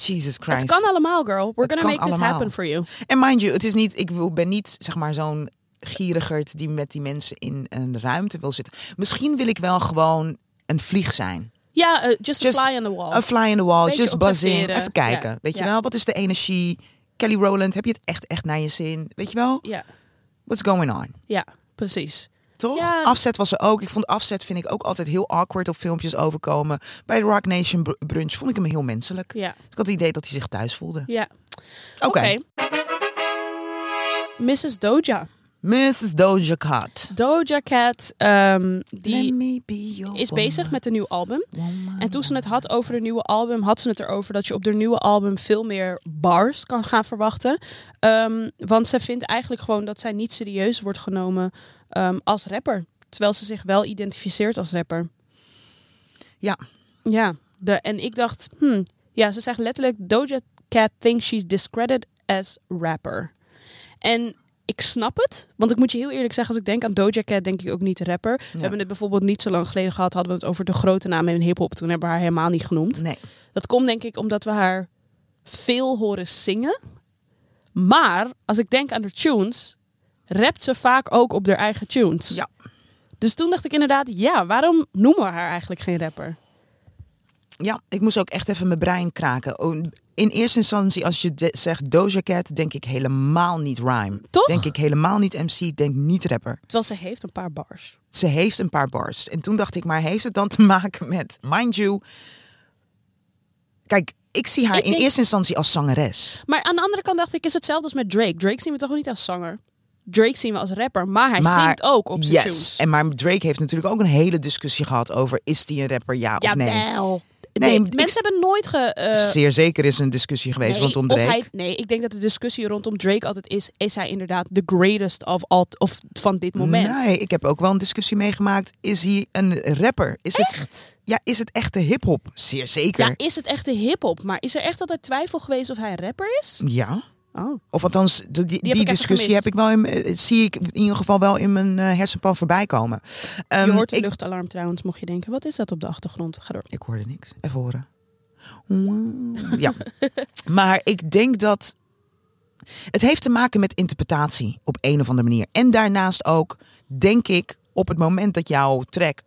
Jesus Christ.
Het kan allemaal, girl. We're
Het
gonna
kan
make this
allemaal.
happen for you.
En mind you, het is niet, ik wil- ben niet zeg maar zo'n gierigerd die met die mensen in een ruimte wil zitten. Misschien wil ik wel gewoon een vlieg zijn.
Ja, eh, just,
Just
a fly on the wall.
Een fly in the wall,
Beetje
just buzzing.
observeren.
Even kijken.
Ja,
Weet je
ja.
wel, wat is de energie? Kelly Rowland, heb je het echt, echt naar je zin? Weet je wel,
Ja,
what's going on?
ja, precies.
Toch?
Ja.
Afzet was er ook. Ik vond afzet vind ik ook altijd heel awkward op filmpjes overkomen. Bij de Rock Nation br- brunch vond ik hem heel menselijk.
Ja,
Dus ik had het idee dat hij zich thuis voelde.
ja.
Oké.
Mrs. Doja.
Mrs. Doja Cat.
Doja Cat, ehm,
Let
die
me be your
is bezig
woman,
met een nieuw album.
woman,
En toen ze het had over haar nieuwe album, had ze het erover dat je op haar nieuwe album veel meer bars kan gaan verwachten. Ehm, want ze vindt eigenlijk gewoon dat zij niet serieus wordt genomen ehm, als rapper. Terwijl ze zich wel identificeert als rapper.
Ja.
Ja, de, en ik dacht, hmm, ja, ze zegt letterlijk: Doja Cat thinks she's discredited as rapper. En ik snap het, want ik moet je heel eerlijk zeggen, als ik denk aan Doja Cat, denk ik ook niet de rapper. We
Ja.
hebben het bijvoorbeeld niet zo lang geleden gehad, hadden we het over de grote naam in hip-hop. Toen hebben we haar helemaal niet genoemd.
Nee.
Dat komt denk ik omdat we haar veel horen zingen. Maar als ik denk aan de tunes, rapt ze vaak ook op haar eigen tunes.
Ja.
Dus toen dacht ik inderdaad, ja, waarom noemen we haar eigenlijk geen rapper?
Ja, ik moest ook echt even mijn brein kraken. Oh, In eerste instantie, als je de- zegt Doja Cat, denk ik helemaal niet rhyme.
Toch?
Denk ik helemaal niet MC, denk niet rapper.
Terwijl ze heeft een paar bars.
Ze heeft een paar bars. En toen dacht ik, maar heeft het dan te maken met, mind you... Kijk, ik zie haar
Ik
in
denk-
eerste instantie als zangeres.
Maar aan de andere kant dacht ik, is hetzelfde als met Drake. Drake zien we toch ook niet als zanger? Drake zien we als rapper, maar hij
Maar-
zingt ook op zijn
yes.
tunes.
En maar Drake heeft natuurlijk ook een hele discussie gehad over... is die een rapper, ja,
ja,
of nee?
wel.
Nee,
Nee,
ik-
mensen hebben nooit ge... eh,
Zeer zeker is er een discussie geweest
Nee,
rondom
of
Drake.
hij- nee, ik denk dat de discussie rondom Drake altijd is: is hij inderdaad de greatest of, all, of van dit moment?
Nee, ik heb ook wel een discussie meegemaakt. Is hij een rapper? Is Het, ja, is het echte hip-hop? Zeer zeker.
Ja,
Ja.
is het echt de hip-hop? Maar is er echt altijd twijfel geweest of hij een rapper is?
Mm.
Oh.
Of althans, de- die, die,
ik even
discussie
gemist.
heb ik wel in, eh, zie ik in ieder geval wel in mijn eh, hersenpan voorbij komen. Ehm,
Je hoort een
ik,
luchtalarm trouwens, mocht je denken: wat is dat op de achtergrond? Ga door.
ik hoorde niks. Even horen.
<laughs>
Ja. maar ik denk dat het heeft te maken met interpretatie op een of andere manier. En daarnaast ook, denk ik, op het moment dat jouw track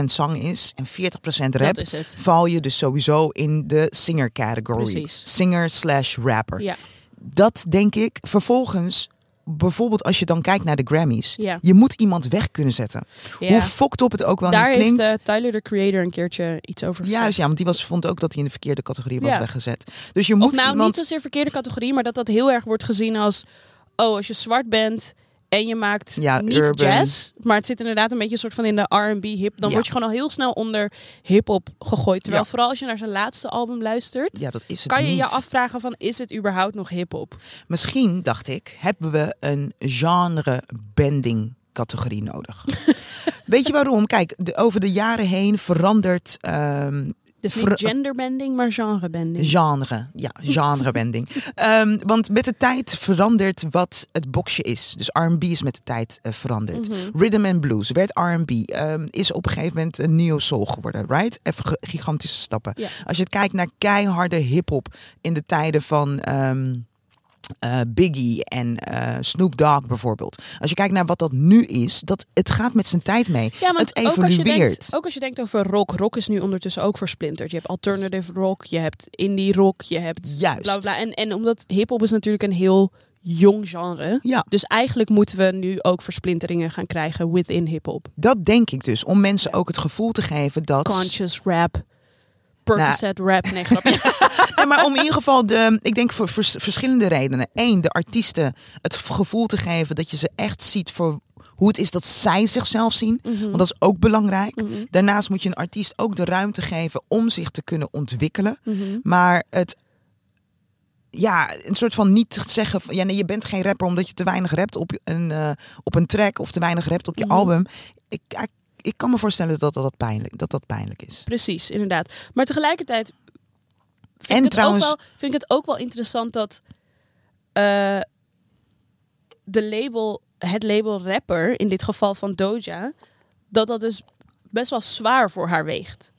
60% zang is en 40% rap,
Dat is het.
val je dus sowieso in de singer category.
Precies.
Singer slash rapper.
Ja.
Dat denk ik. Vervolgens, bijvoorbeeld als je dan kijkt naar de Grammys.
Ja.
Je moet iemand weg kunnen zetten.
Ja.
Hoe fokt op het ook wel
Daar
niet
heeft
klinkt.
eh, Tyler the Creator een keertje iets over gezegd.
Juist, ja, want die was, vond ook dat hij in de verkeerde categorie was
Ja.
weggezet. Dus je
Of
moet
nou, niet
iemand...
zozeer verkeerde categorie, maar dat dat heel erg wordt gezien als... Oh, als je zwart bent en je maakt
Ja,
niet
urban.
jazz, maar het zit inderdaad een beetje soort van in de R&B hip. Dan
Ja.
word je gewoon al heel snel onder hip-hop gegooid. Terwijl
Ja.
vooral als je naar zijn laatste album luistert,
Ja, dat is het
kan je je
niet.
afvragen van is het überhaupt nog hip-hop?
Misschien, dacht ik, hebben we een genre-bending categorie
<laughs>
nodig. Weet je waarom? Kijk, de- over de jaren heen verandert ehm,
Dus
Ver-
niet genderbending, maar genrebending.
genre. Ja,
<laughs>
genrebending. Ehm, want met de tijd verandert wat het boxje is. Dus R&B is met de tijd eh, veranderd.
Mhm.
Rhythm and Blues werd R&B. ehm, is op een gegeven moment een neo soul geworden, right? Even ge- gigantische stappen.
Ja.
Als je kijkt naar keiharde hip-hop in de tijden van ehm, eh, Biggie en eh, Snoop Dogg bijvoorbeeld. Als je kijkt naar wat dat nu is, dat, het gaat met zijn tijd mee.
Ja, want
het
Ook als, je
evolueert.
denkt, ook als je denkt over rock, rock is nu ondertussen ook versplinterd. Je hebt alternative rock, je hebt indie rock, je hebt
Juist.
bla bla. bla. En, en omdat hip-hop is natuurlijk een heel jong genre.
Ja.
Dus eigenlijk moeten we nu ook versplinteringen gaan krijgen within hip-hop.
Dat denk ik dus. Om mensen ook het gevoel te geven dat.
Conscious rap,
Nou.
Percocet rap. Nee,
<laughs>
grapje.
Ja, maar om in ieder geval, de, ik denk voor vers- verschillende redenen. Eén, de artiesten het gevoel te geven dat je ze echt ziet voor hoe het is dat zij zichzelf zien.
Mhm.
Want dat is ook belangrijk. Daarnaast moet je een artiest ook de ruimte geven om zich te kunnen ontwikkelen.
Mhm.
Maar het. Ja, een soort van niet te zeggen van ja, nee, je bent geen rapper omdat je te weinig rapt op een, eh, op een track of te weinig rapt op je
Mhm.
album. Ik, ik, ik kan me voorstellen dat dat, dat, pijnlijk, dat, dat pijnlijk is.
Precies, inderdaad. Maar tegelijkertijd vind,
En
ik, het
trouwens-
ook wel, vind ik het ook wel interessant dat eh, de label, het label rapper, in dit geval van Doja, dat dat dus best wel zwaar voor haar weegt.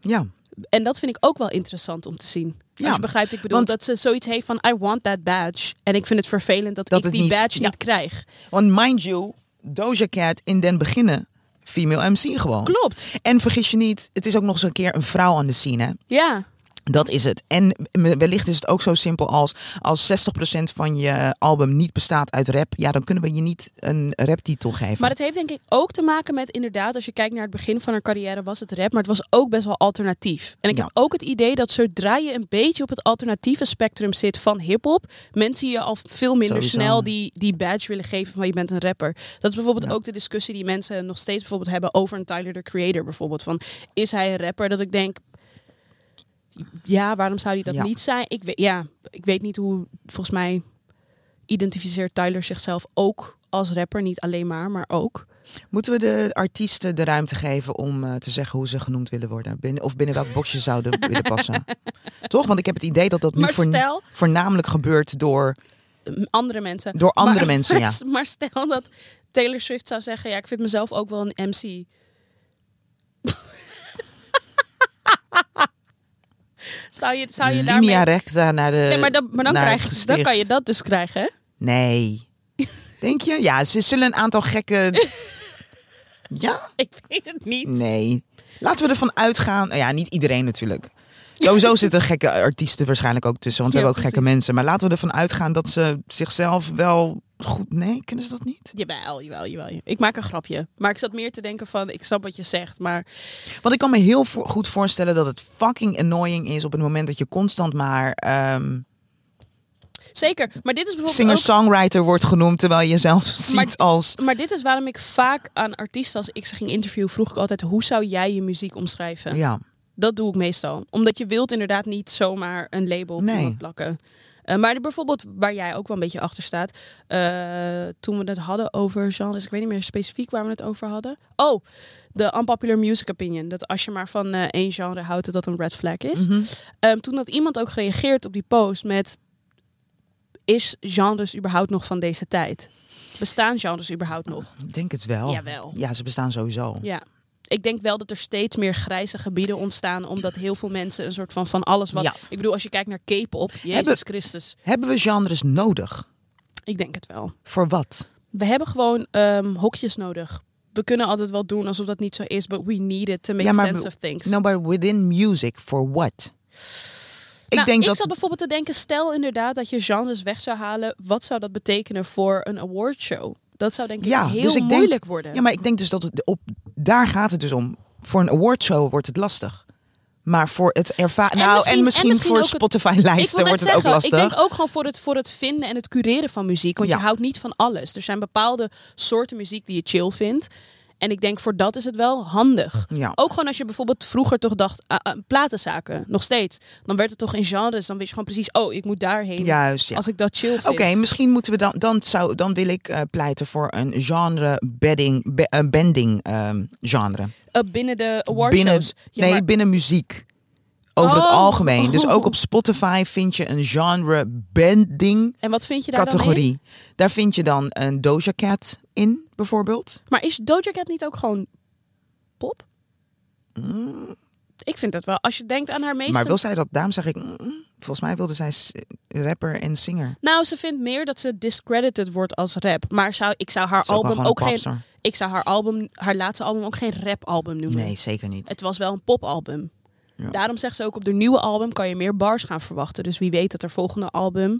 Ja.
En dat vind ik ook wel interessant om te zien.
Ja,
Als je begrijpt, ik bedoel
want-
dat ze zoiets heeft van I want that badge. En ik vind het vervelend dat,
Dat
ik
het
die
niet-
badge
ja.
niet krijg.
Want mind you, Doja Cat in den beginnen female MC gewoon.
Klopt.
En vergis je niet, het is ook nog eens een keer een vrouw aan de scene. Hè?
Ja.
Dat is het. En wellicht is het ook zo simpel als als 60% van je album niet bestaat uit rap. Ja, dan kunnen we je niet een raptitel geven.
Maar het heeft denk ik ook te maken met inderdaad, als je kijkt naar het begin van haar carrière, was het rap, maar het was ook best wel alternatief. En ik
Ja.
heb ook het idee dat zodra je een beetje op het alternatieve spectrum zit van hip-hop, mensen je al veel minder
Sowieso.
snel die, die badge willen geven van je bent een rapper. Dat is bijvoorbeeld ook de discussie die mensen nog steeds bijvoorbeeld hebben over een Tyler the Creator bijvoorbeeld. Van is hij een rapper? Dat ik denk. Ja, waarom zou hij dat
Ja.
niet zijn? Ik weet, ja, ik weet niet hoe, volgens mij identificeert Tyler zichzelf ook als rapper. Niet alleen maar, maar ook.
Moeten we de artiesten de ruimte geven om eh, te zeggen hoe ze genoemd willen worden? Binnen, of binnen welk boxje
<laughs>
zouden willen passen? Toch? Want ik heb het idee dat dat nu
Maar
voorn-
stel-
voornamelijk gebeurt door...
m- andere mensen.
Door andere mensen, ja.
<laughs> Maar stel dat Taylor Swift zou zeggen, ja, ik vind mezelf ook wel een MC. <laughs> zou je, zou je daarmee...
Linea recta naar de...
Nee, maar dan, maar dan,
naar het
krijg je, dan
gesticht.
kan je dat dus krijgen, hè? <laughs>
Nee. Denk je? Ja, ze zullen een aantal
<laughs>
gekke. Ja?
Ik weet het niet.
Nee. Laten we ervan uitgaan. Nou Ja, niet iedereen natuurlijk.
<laughs>
Sowieso zitten er gekke artiesten waarschijnlijk ook tussen, want we
Ja,
hebben ook gekke
precies.
mensen. Maar laten we ervan uitgaan dat ze zichzelf wel goed. Nee, kunnen ze dat niet?
Jawel, jawel, jawel. Ik maak een grapje. Maar ik zat meer te denken van, ik snap wat je zegt, maar...
Want ik kan me heel vo- goed voorstellen dat het fucking annoying is op het moment dat je constant maar ehm,
Zeker, maar dit is bijvoorbeeld ook-
singer-songwriter wordt genoemd, terwijl je jezelf <laughs> ziet als.
Maar dit is waarom ik vaak aan artiesten, als ik ze ging interviewen, vroeg ik altijd: hoe zou jij je muziek omschrijven?
Ja.
Dat doe ik meestal. Omdat je wilt inderdaad niet zomaar een label op
Nee.
iemand plakken. Eh, maar bijvoorbeeld waar jij ook wel een beetje achter staat. eh, toen we het hadden over genres. Ik weet niet meer specifiek waar we het over hadden. Oh, de unpopular music opinion. Dat als je maar van eh, één genre houdt, dat dat een red flag is.
Mhm.
Ehm, toen had iemand ook gereageerd op die post met... Is genres überhaupt nog van deze tijd? Bestaan genres überhaupt nog?
Ik denk het wel.
Jawel.
Ja, ze bestaan sowieso.
Ja. Ik denk wel dat er steeds meer grijze gebieden ontstaan. Omdat heel veel mensen een soort van van alles wat.
Ja.
Ik bedoel, als je kijkt naar K-pop, Jezus
Hebben-
Christus.
Hebben we genres nodig?
Ik denk het wel.
Voor wat?
We hebben gewoon ehm, hokjes nodig. We kunnen altijd wel doen alsof dat niet zo is, but we need it to make
Ja, maar
sense
be-
of things.
Nou, maar within music, for what? Ik
Nou,
denk
ik
dat.
zat bijvoorbeeld te denken, stel inderdaad dat je genres weg zou halen. Wat zou dat betekenen voor een awardshow? Dat zou denk ik
ja,
heel
dus ik
moeilijk
denk,
worden.
Ja, maar ik denk dus dat het op, daar gaat het dus om. Voor een awardshow wordt het lastig. Maar voor het ervaren. Nou,
misschien-
en
en
misschien,
misschien
voor
ook het- Ik wil
Spotify-lijsten
net
wordt het
zeggen,
ook lastig.
Ik denk ook gewoon voor het, voor het vinden en het cureren van muziek. Want
Ja.
je houdt niet van alles. Er zijn bepaalde soorten muziek die je chill vindt. En ik denk voor dat is het wel handig.
Ja.
Ook gewoon als je bijvoorbeeld vroeger toch dacht, ah, ah, platenzaken, nog steeds. Dan werd het toch in genres, dan wist je gewoon precies, oh, ik moet daarheen.
Juist, ja.
Als ik dat chill vind.
Oké, misschien moeten we dan. Dan, zou, dan wil ik eh, pleiten voor een genre-bedding. Be, eh, bending ehm, genre.
Eh, binnen de awardshows.
binnen,
Ja,
nee,
maar-
binnen muziek. Over het
Oh.
algemeen. Dus ook
<laughs>
op Spotify vind je een genre bending
en wat vind je daar dan in?
categorie. Daar vind je dan een Doja Cat in, bijvoorbeeld.
Maar is Doja Cat niet ook gewoon pop?
Mm.
Ik vind dat wel. Als je denkt aan haar meeste
Maar wil zij dat? Daarom zeg ik, mm, Volgens mij wilde zij s- rapper en singer.
Nou, ze vindt meer dat ze discredited wordt als rap. Maar zou, ik zou haar
Is ook
album
wel gewoon
ook
een
geen.
popster.
Ik zou haar album, haar laatste album ook geen rapalbum noemen.
Nee, zeker niet.
Het was wel een popalbum.
Ja.
Daarom zegt ze ook op de nieuwe album kan je meer bars gaan verwachten. Dus wie weet dat er volgende album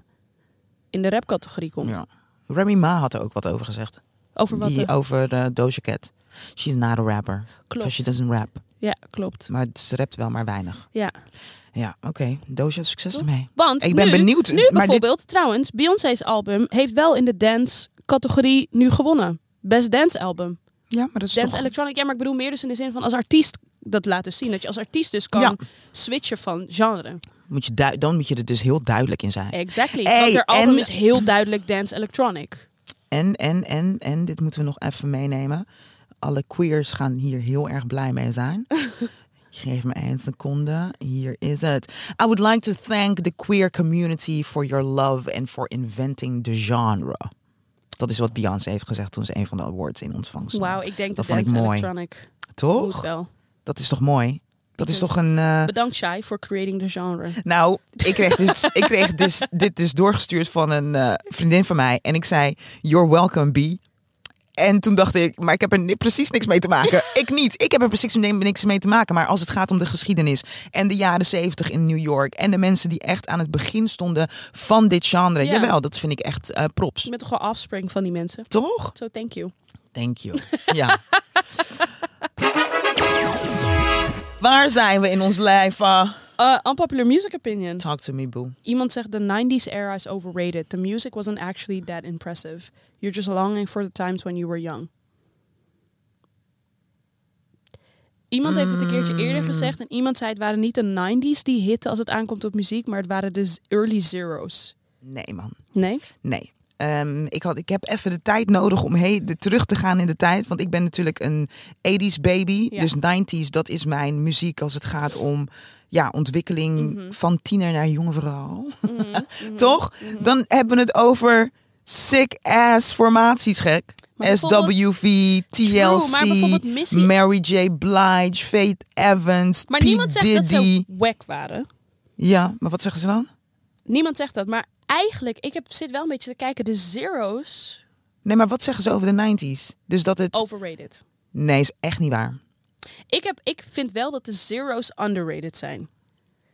in de rapcategorie komt.
Ja. Remy Ma had er ook wat over gezegd.
Over wat?
Die
er-
over eh, Doja Cat. She's not a rapper.
klopt.
Because she doesn't rap.
Ja, klopt.
Maar ze rapt wel maar weinig.
Ja.
Ja, oké. Doja, succes ermee.
Want
Ik ben
nu,
benieuwd,
Nu
maar dit-
bijvoorbeeld, trouwens, Beyoncé's album heeft wel in de dance categorie nu gewonnen. Best dance album.
Ja, maar dat is
Dance
toch...
electronic. Ja, maar ik bedoel meer dus in de zin van als artiest dat laten zien. Dat je als artiest dus kan
Ja.
switchen van genre.
Moet je du- dan moet je er dus heel duidelijk in zijn.
Exactly.
Hey,
Want haar album
en-
is heel duidelijk dance electronic.
En, en, en, en, dit moeten we nog even meenemen. Alle queers gaan hier heel erg blij
<laughs>
mee zijn. Geef me één seconde. Hier is het. I would like to thank the queer community for your love and for inventing the genre. Dat is wat Beyoncé heeft gezegd toen ze een van de awards in ontvangst nam.
Wauw, ik denk
Dat
dat
vond ik
dance
mooi.
electronic moet
Toch?
wel.
Dat is toch mooi? Dat is
Because-
toch een... eh,
Bedankt Shai voor creating the genre.
Nou, ik kreeg, dit, ik kreeg dus, dit dus doorgestuurd van een eh, vriendin van mij. En ik zei, you're welcome, B. En toen dacht ik, maar ik heb er ni- precies niks mee te maken. ik niet. Ik heb er precies ni- niks mee te maken. Maar als het gaat om de geschiedenis en de jaren zeventig in New York... en de mensen die echt aan het begin stonden van dit genre.
Ja.
Jawel, dat vind ik echt eh, props.
Ik ben toch wel offspring van die mensen.
Toch?
So thank you.
Thank you. ja. Waar zijn we in ons lijf? eh?
Uh, unpopular music opinion.
talk to me, boo.
Iemand zegt the 90s era is overrated. The music wasn't actually that impressive. You're just longing for the times when you were young. Iemand heeft het een keertje eerder gezegd en iemand zei het waren niet de 90s die hitten als het aankomt op muziek, maar het waren de z- early zeros.
Nee, man.
Nee?
Nee. Ehm, ik, had, ik heb even de tijd nodig om he- de, terug te gaan in de tijd. Want ik ben natuurlijk een 80s baby.
Ja.
Dus 90s, dat is mijn muziek als het gaat om ja, ontwikkeling
Mhm.
van tiener naar jonge vrouw. <laughs> Toch?
mhm.
Dan hebben we het over sick ass formaties, gek.
Maar bijvoorbeeld-
SWV,
True, maar
TLC,
bijvoorbeeld Missy-
Mary J. Blige, Faith Evans,
Maar
P.
niemand zegt
Diddy.
dat ze wack waren.
Ja, maar wat zeggen ze dan?
Niemand zegt dat, maar eigenlijk, ik heb, zit wel een beetje te kijken, de zeros
Nee, maar wat zeggen ze over de 90s? Dus dat het...
Oh. overrated.
Nee, is echt niet waar.
Ik, heb, ik vind wel dat de zeros underrated zijn.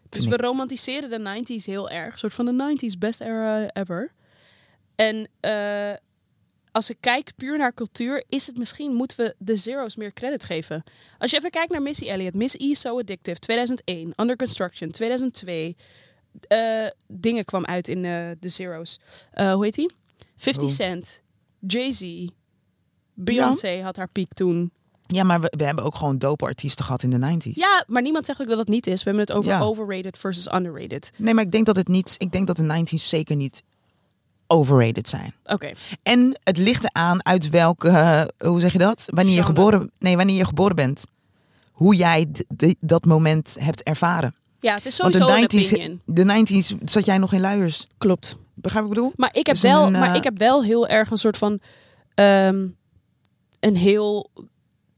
Dus
Vind
we romantiseren de 90s heel erg. Een soort van de 90s, best era ever. En eh, als ik kijk puur naar cultuur, is het misschien moeten we de zeros meer credit geven. Als je even kijkt naar Missy Elliott, Miss E So Addictive 2001, Under Construction 2002. Eh, dingen kwam uit in eh, de zeros. Eh, hoe heet die? 50
Hoe?
Cent, Jay-Z, Beyoncé had haar piek toen.
Ja, maar we, we hebben ook gewoon dope artiesten gehad in de 90s.
Ja, maar niemand zegt ook dat dat niet is. We hebben het over
Ja.
overrated versus underrated.
Nee, maar ik denk dat het niet. Ik denk dat de 90s zeker niet overrated zijn.
Oké.
En het ligt eraan uit welke, eh, hoe zeg je dat? Wanneer je
Genre.
geboren, nee, wanneer je geboren bent. Hoe jij d- d- dat moment hebt ervaren.
Ja, het is sowieso een
de 90s,
opinion.
de 90s zat jij nog in luiers.
Klopt.
Begrijp ik wat ik bedoel?
Maar ik heb,
Dus
wel,
een, eh,
maar ik heb wel heel erg een soort van... ehm, een heel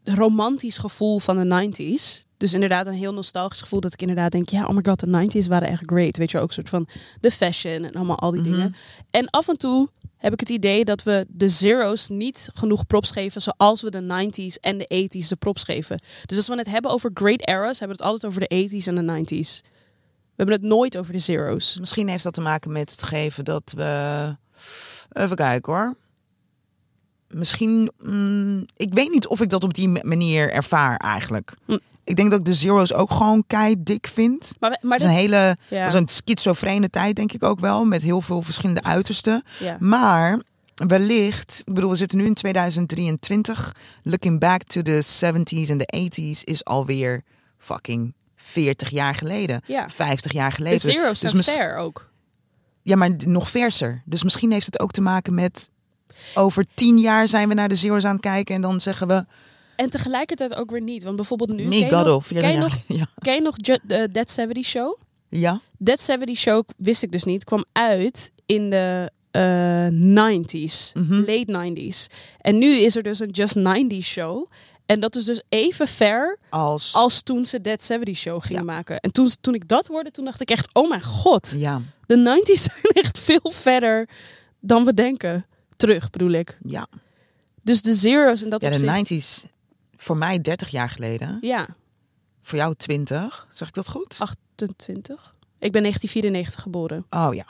romantisch gevoel van de 90s. Dus inderdaad een heel nostalgisch gevoel dat ik inderdaad denk... Ja, oh my god, de 90s waren echt great. Weet je, ook een soort van de fashion en allemaal al
Mhm.
die dingen. En af en toe heb ik het idee dat we de zeros niet genoeg props geven... zoals we de 90s en de 80s de props geven. Dus als we het hebben over great eras... hebben we het altijd over de 80s en de 90s. We hebben het nooit over de zeros.
Misschien heeft dat te maken met het geven dat we. Even kijken hoor. Misschien. mm, ik weet niet of ik dat op die ma- manier ervaar eigenlijk.
Hm.
Ik denk dat ik de zeros ook gewoon kei dik vind.
Maar, we- maar
Dat is een hele.
Ja.
Dat is een schizofrene tijd, denk ik ook wel. Met heel veel verschillende uitersten.
Ja.
Maar wellicht, ik bedoel, we zitten nu in 2023. Looking back to the 70s en the 80s is alweer fucking 40 jaar geleden.
Ja.
50 jaar
De
geleden.
zero's
Dus
zijn
mis-
fair ook.
Ja, maar nog verser. Dus misschien heeft het ook te maken met. Over tien jaar zijn we naar de zero's aan het kijken. En dan zeggen we.
En tegelijkertijd ook weer niet. Want bijvoorbeeld nu...
Nee,
ken je
God
nog-
of.
Ken je nog,
<laughs> Ja.
ken je nog Ju- eh, Dead 70 Show?
ja.
Dead 70 Show, wist ik dus niet, kwam uit in de
Mhm.
eh, 90s. Late 90s. En nu is er dus een Just 90 Show. En dat is dus even ver
Als,
als toen ze Dead 70 Show gingen
Ja.
maken. En toen, toen ik dat hoorde, toen dacht ik echt, oh mijn god.
Ja,
De 90s <laughs> zijn echt veel verder dan we denken. Terug bedoel ik.
ja.
Dus de zeros en dat
ja
opzicht-
de 90s. Voor mij 30 jaar geleden.
Ja,
Voor jou 20. Zeg ik dat goed?
28. Ik ben 1994 geboren.
Oh ja.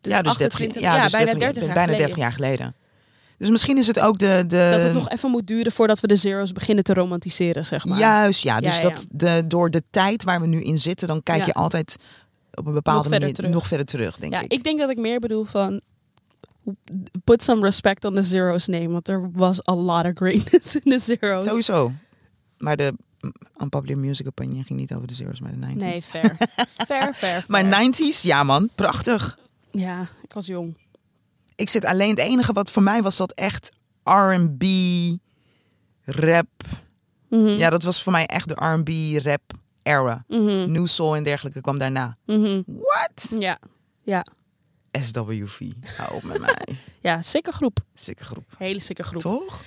Dus
ja, dus
28
30, ja,
ja,
dus
bijna
30
30 jaar
bijna
geleden.
30 jaar geleden. Dus misschien is het ook de. de
dat het nog even moet duren voordat we de zeros beginnen te romantiseren, zeg maar.
Juist, ja.
Ja,
Dus
ja.
Dat de, door de tijd waar we nu in zitten, dan kijk
Ja.
je altijd op een
Nog
bepaalde
verder
manier
terug.
nog verder terug, denk
ja,
ik.
ik denk dat ik meer bedoel van put some respect on the zeros name, want er was a lot of greatness in de zeros.
Sowieso. Maar de mm, Unpopular Music Opinion ging niet over de zeros, maar de 90s.
Nee, fair.
<laughs>
fair, fair.
maar
fair.
90s, ja man, prachtig.
Ja, ik was jong.
Ik zit alleen het enige wat voor mij was dat echt R&B, rap.
Mhm.
Ja, dat was voor mij echt de R&B, rap era.
Mhm.
New Soul en dergelijke kwam daarna.
Mhm.
What?
Ja. Ja.
SWV. Hou op met mij. <laughs>
Ja, sikke groep.
Sikke groep.
Hele sikke groep.
Toch?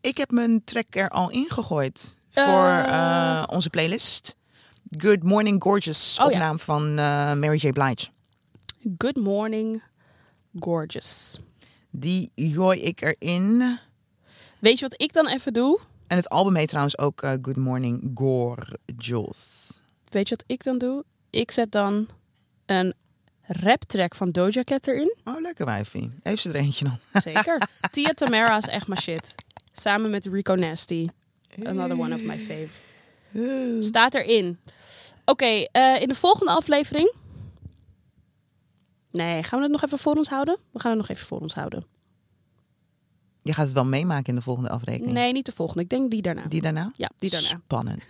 Ik heb mijn track er al ingegooid voor
Eh.
eh, onze playlist. Good Morning Gorgeous,
Oh, ja.
opname van eh, Mary J. Blige.
Good morning, gorgeous.
Die gooi ik erin.
Weet je wat ik dan even doe?
En het album heet trouwens ook eh, Good Morning Gorgeous.
Weet je wat ik dan doe? Ik zet dan een rap track van Doja Cat erin.
Oh, lekker wijfie. Heeft ze er eentje dan? <laughs>
Zeker. Tia Tamara is echt mijn shit. Samen met Rico Nasty. Another one of my fave. Staat erin. Oké, eh, in de volgende aflevering. Nee, gaan we het nog even voor ons houden? We gaan het nog even voor ons houden.
Je gaat het wel meemaken in de volgende afrekening.
Nee, niet de volgende. Ik denk die daarna.
Die daarna?
Ja, die daarna. <laughs>
Spannend.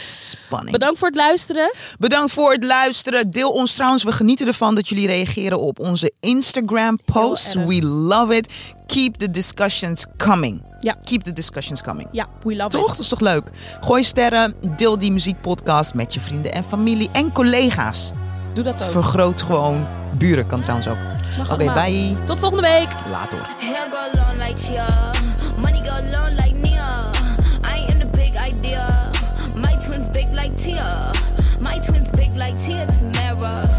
Spanning.
Bedankt voor het luisteren.
Bedankt voor het luisteren. Deel ons trouwens. We genieten ervan dat jullie reageren op onze Instagram posts.
Heel erg.
We love it. Keep the discussions coming.
Ja.
Keep the discussions coming.
Ja, we love
Toch?
it.
Dat is toch leuk? Gooi sterren. Deel die muziekpodcast met je vrienden en familie en collega's.
Doe dat ook.
Vergroot gewoon. Buren kan trouwens ook.
Mag
Oké,
allemaal.
bye.
Tot volgende week.
Later.
Hair go long like Chia. Money go long like Nia. I am the big idea. My twins big like Tia. My twins big like Tia Tamara.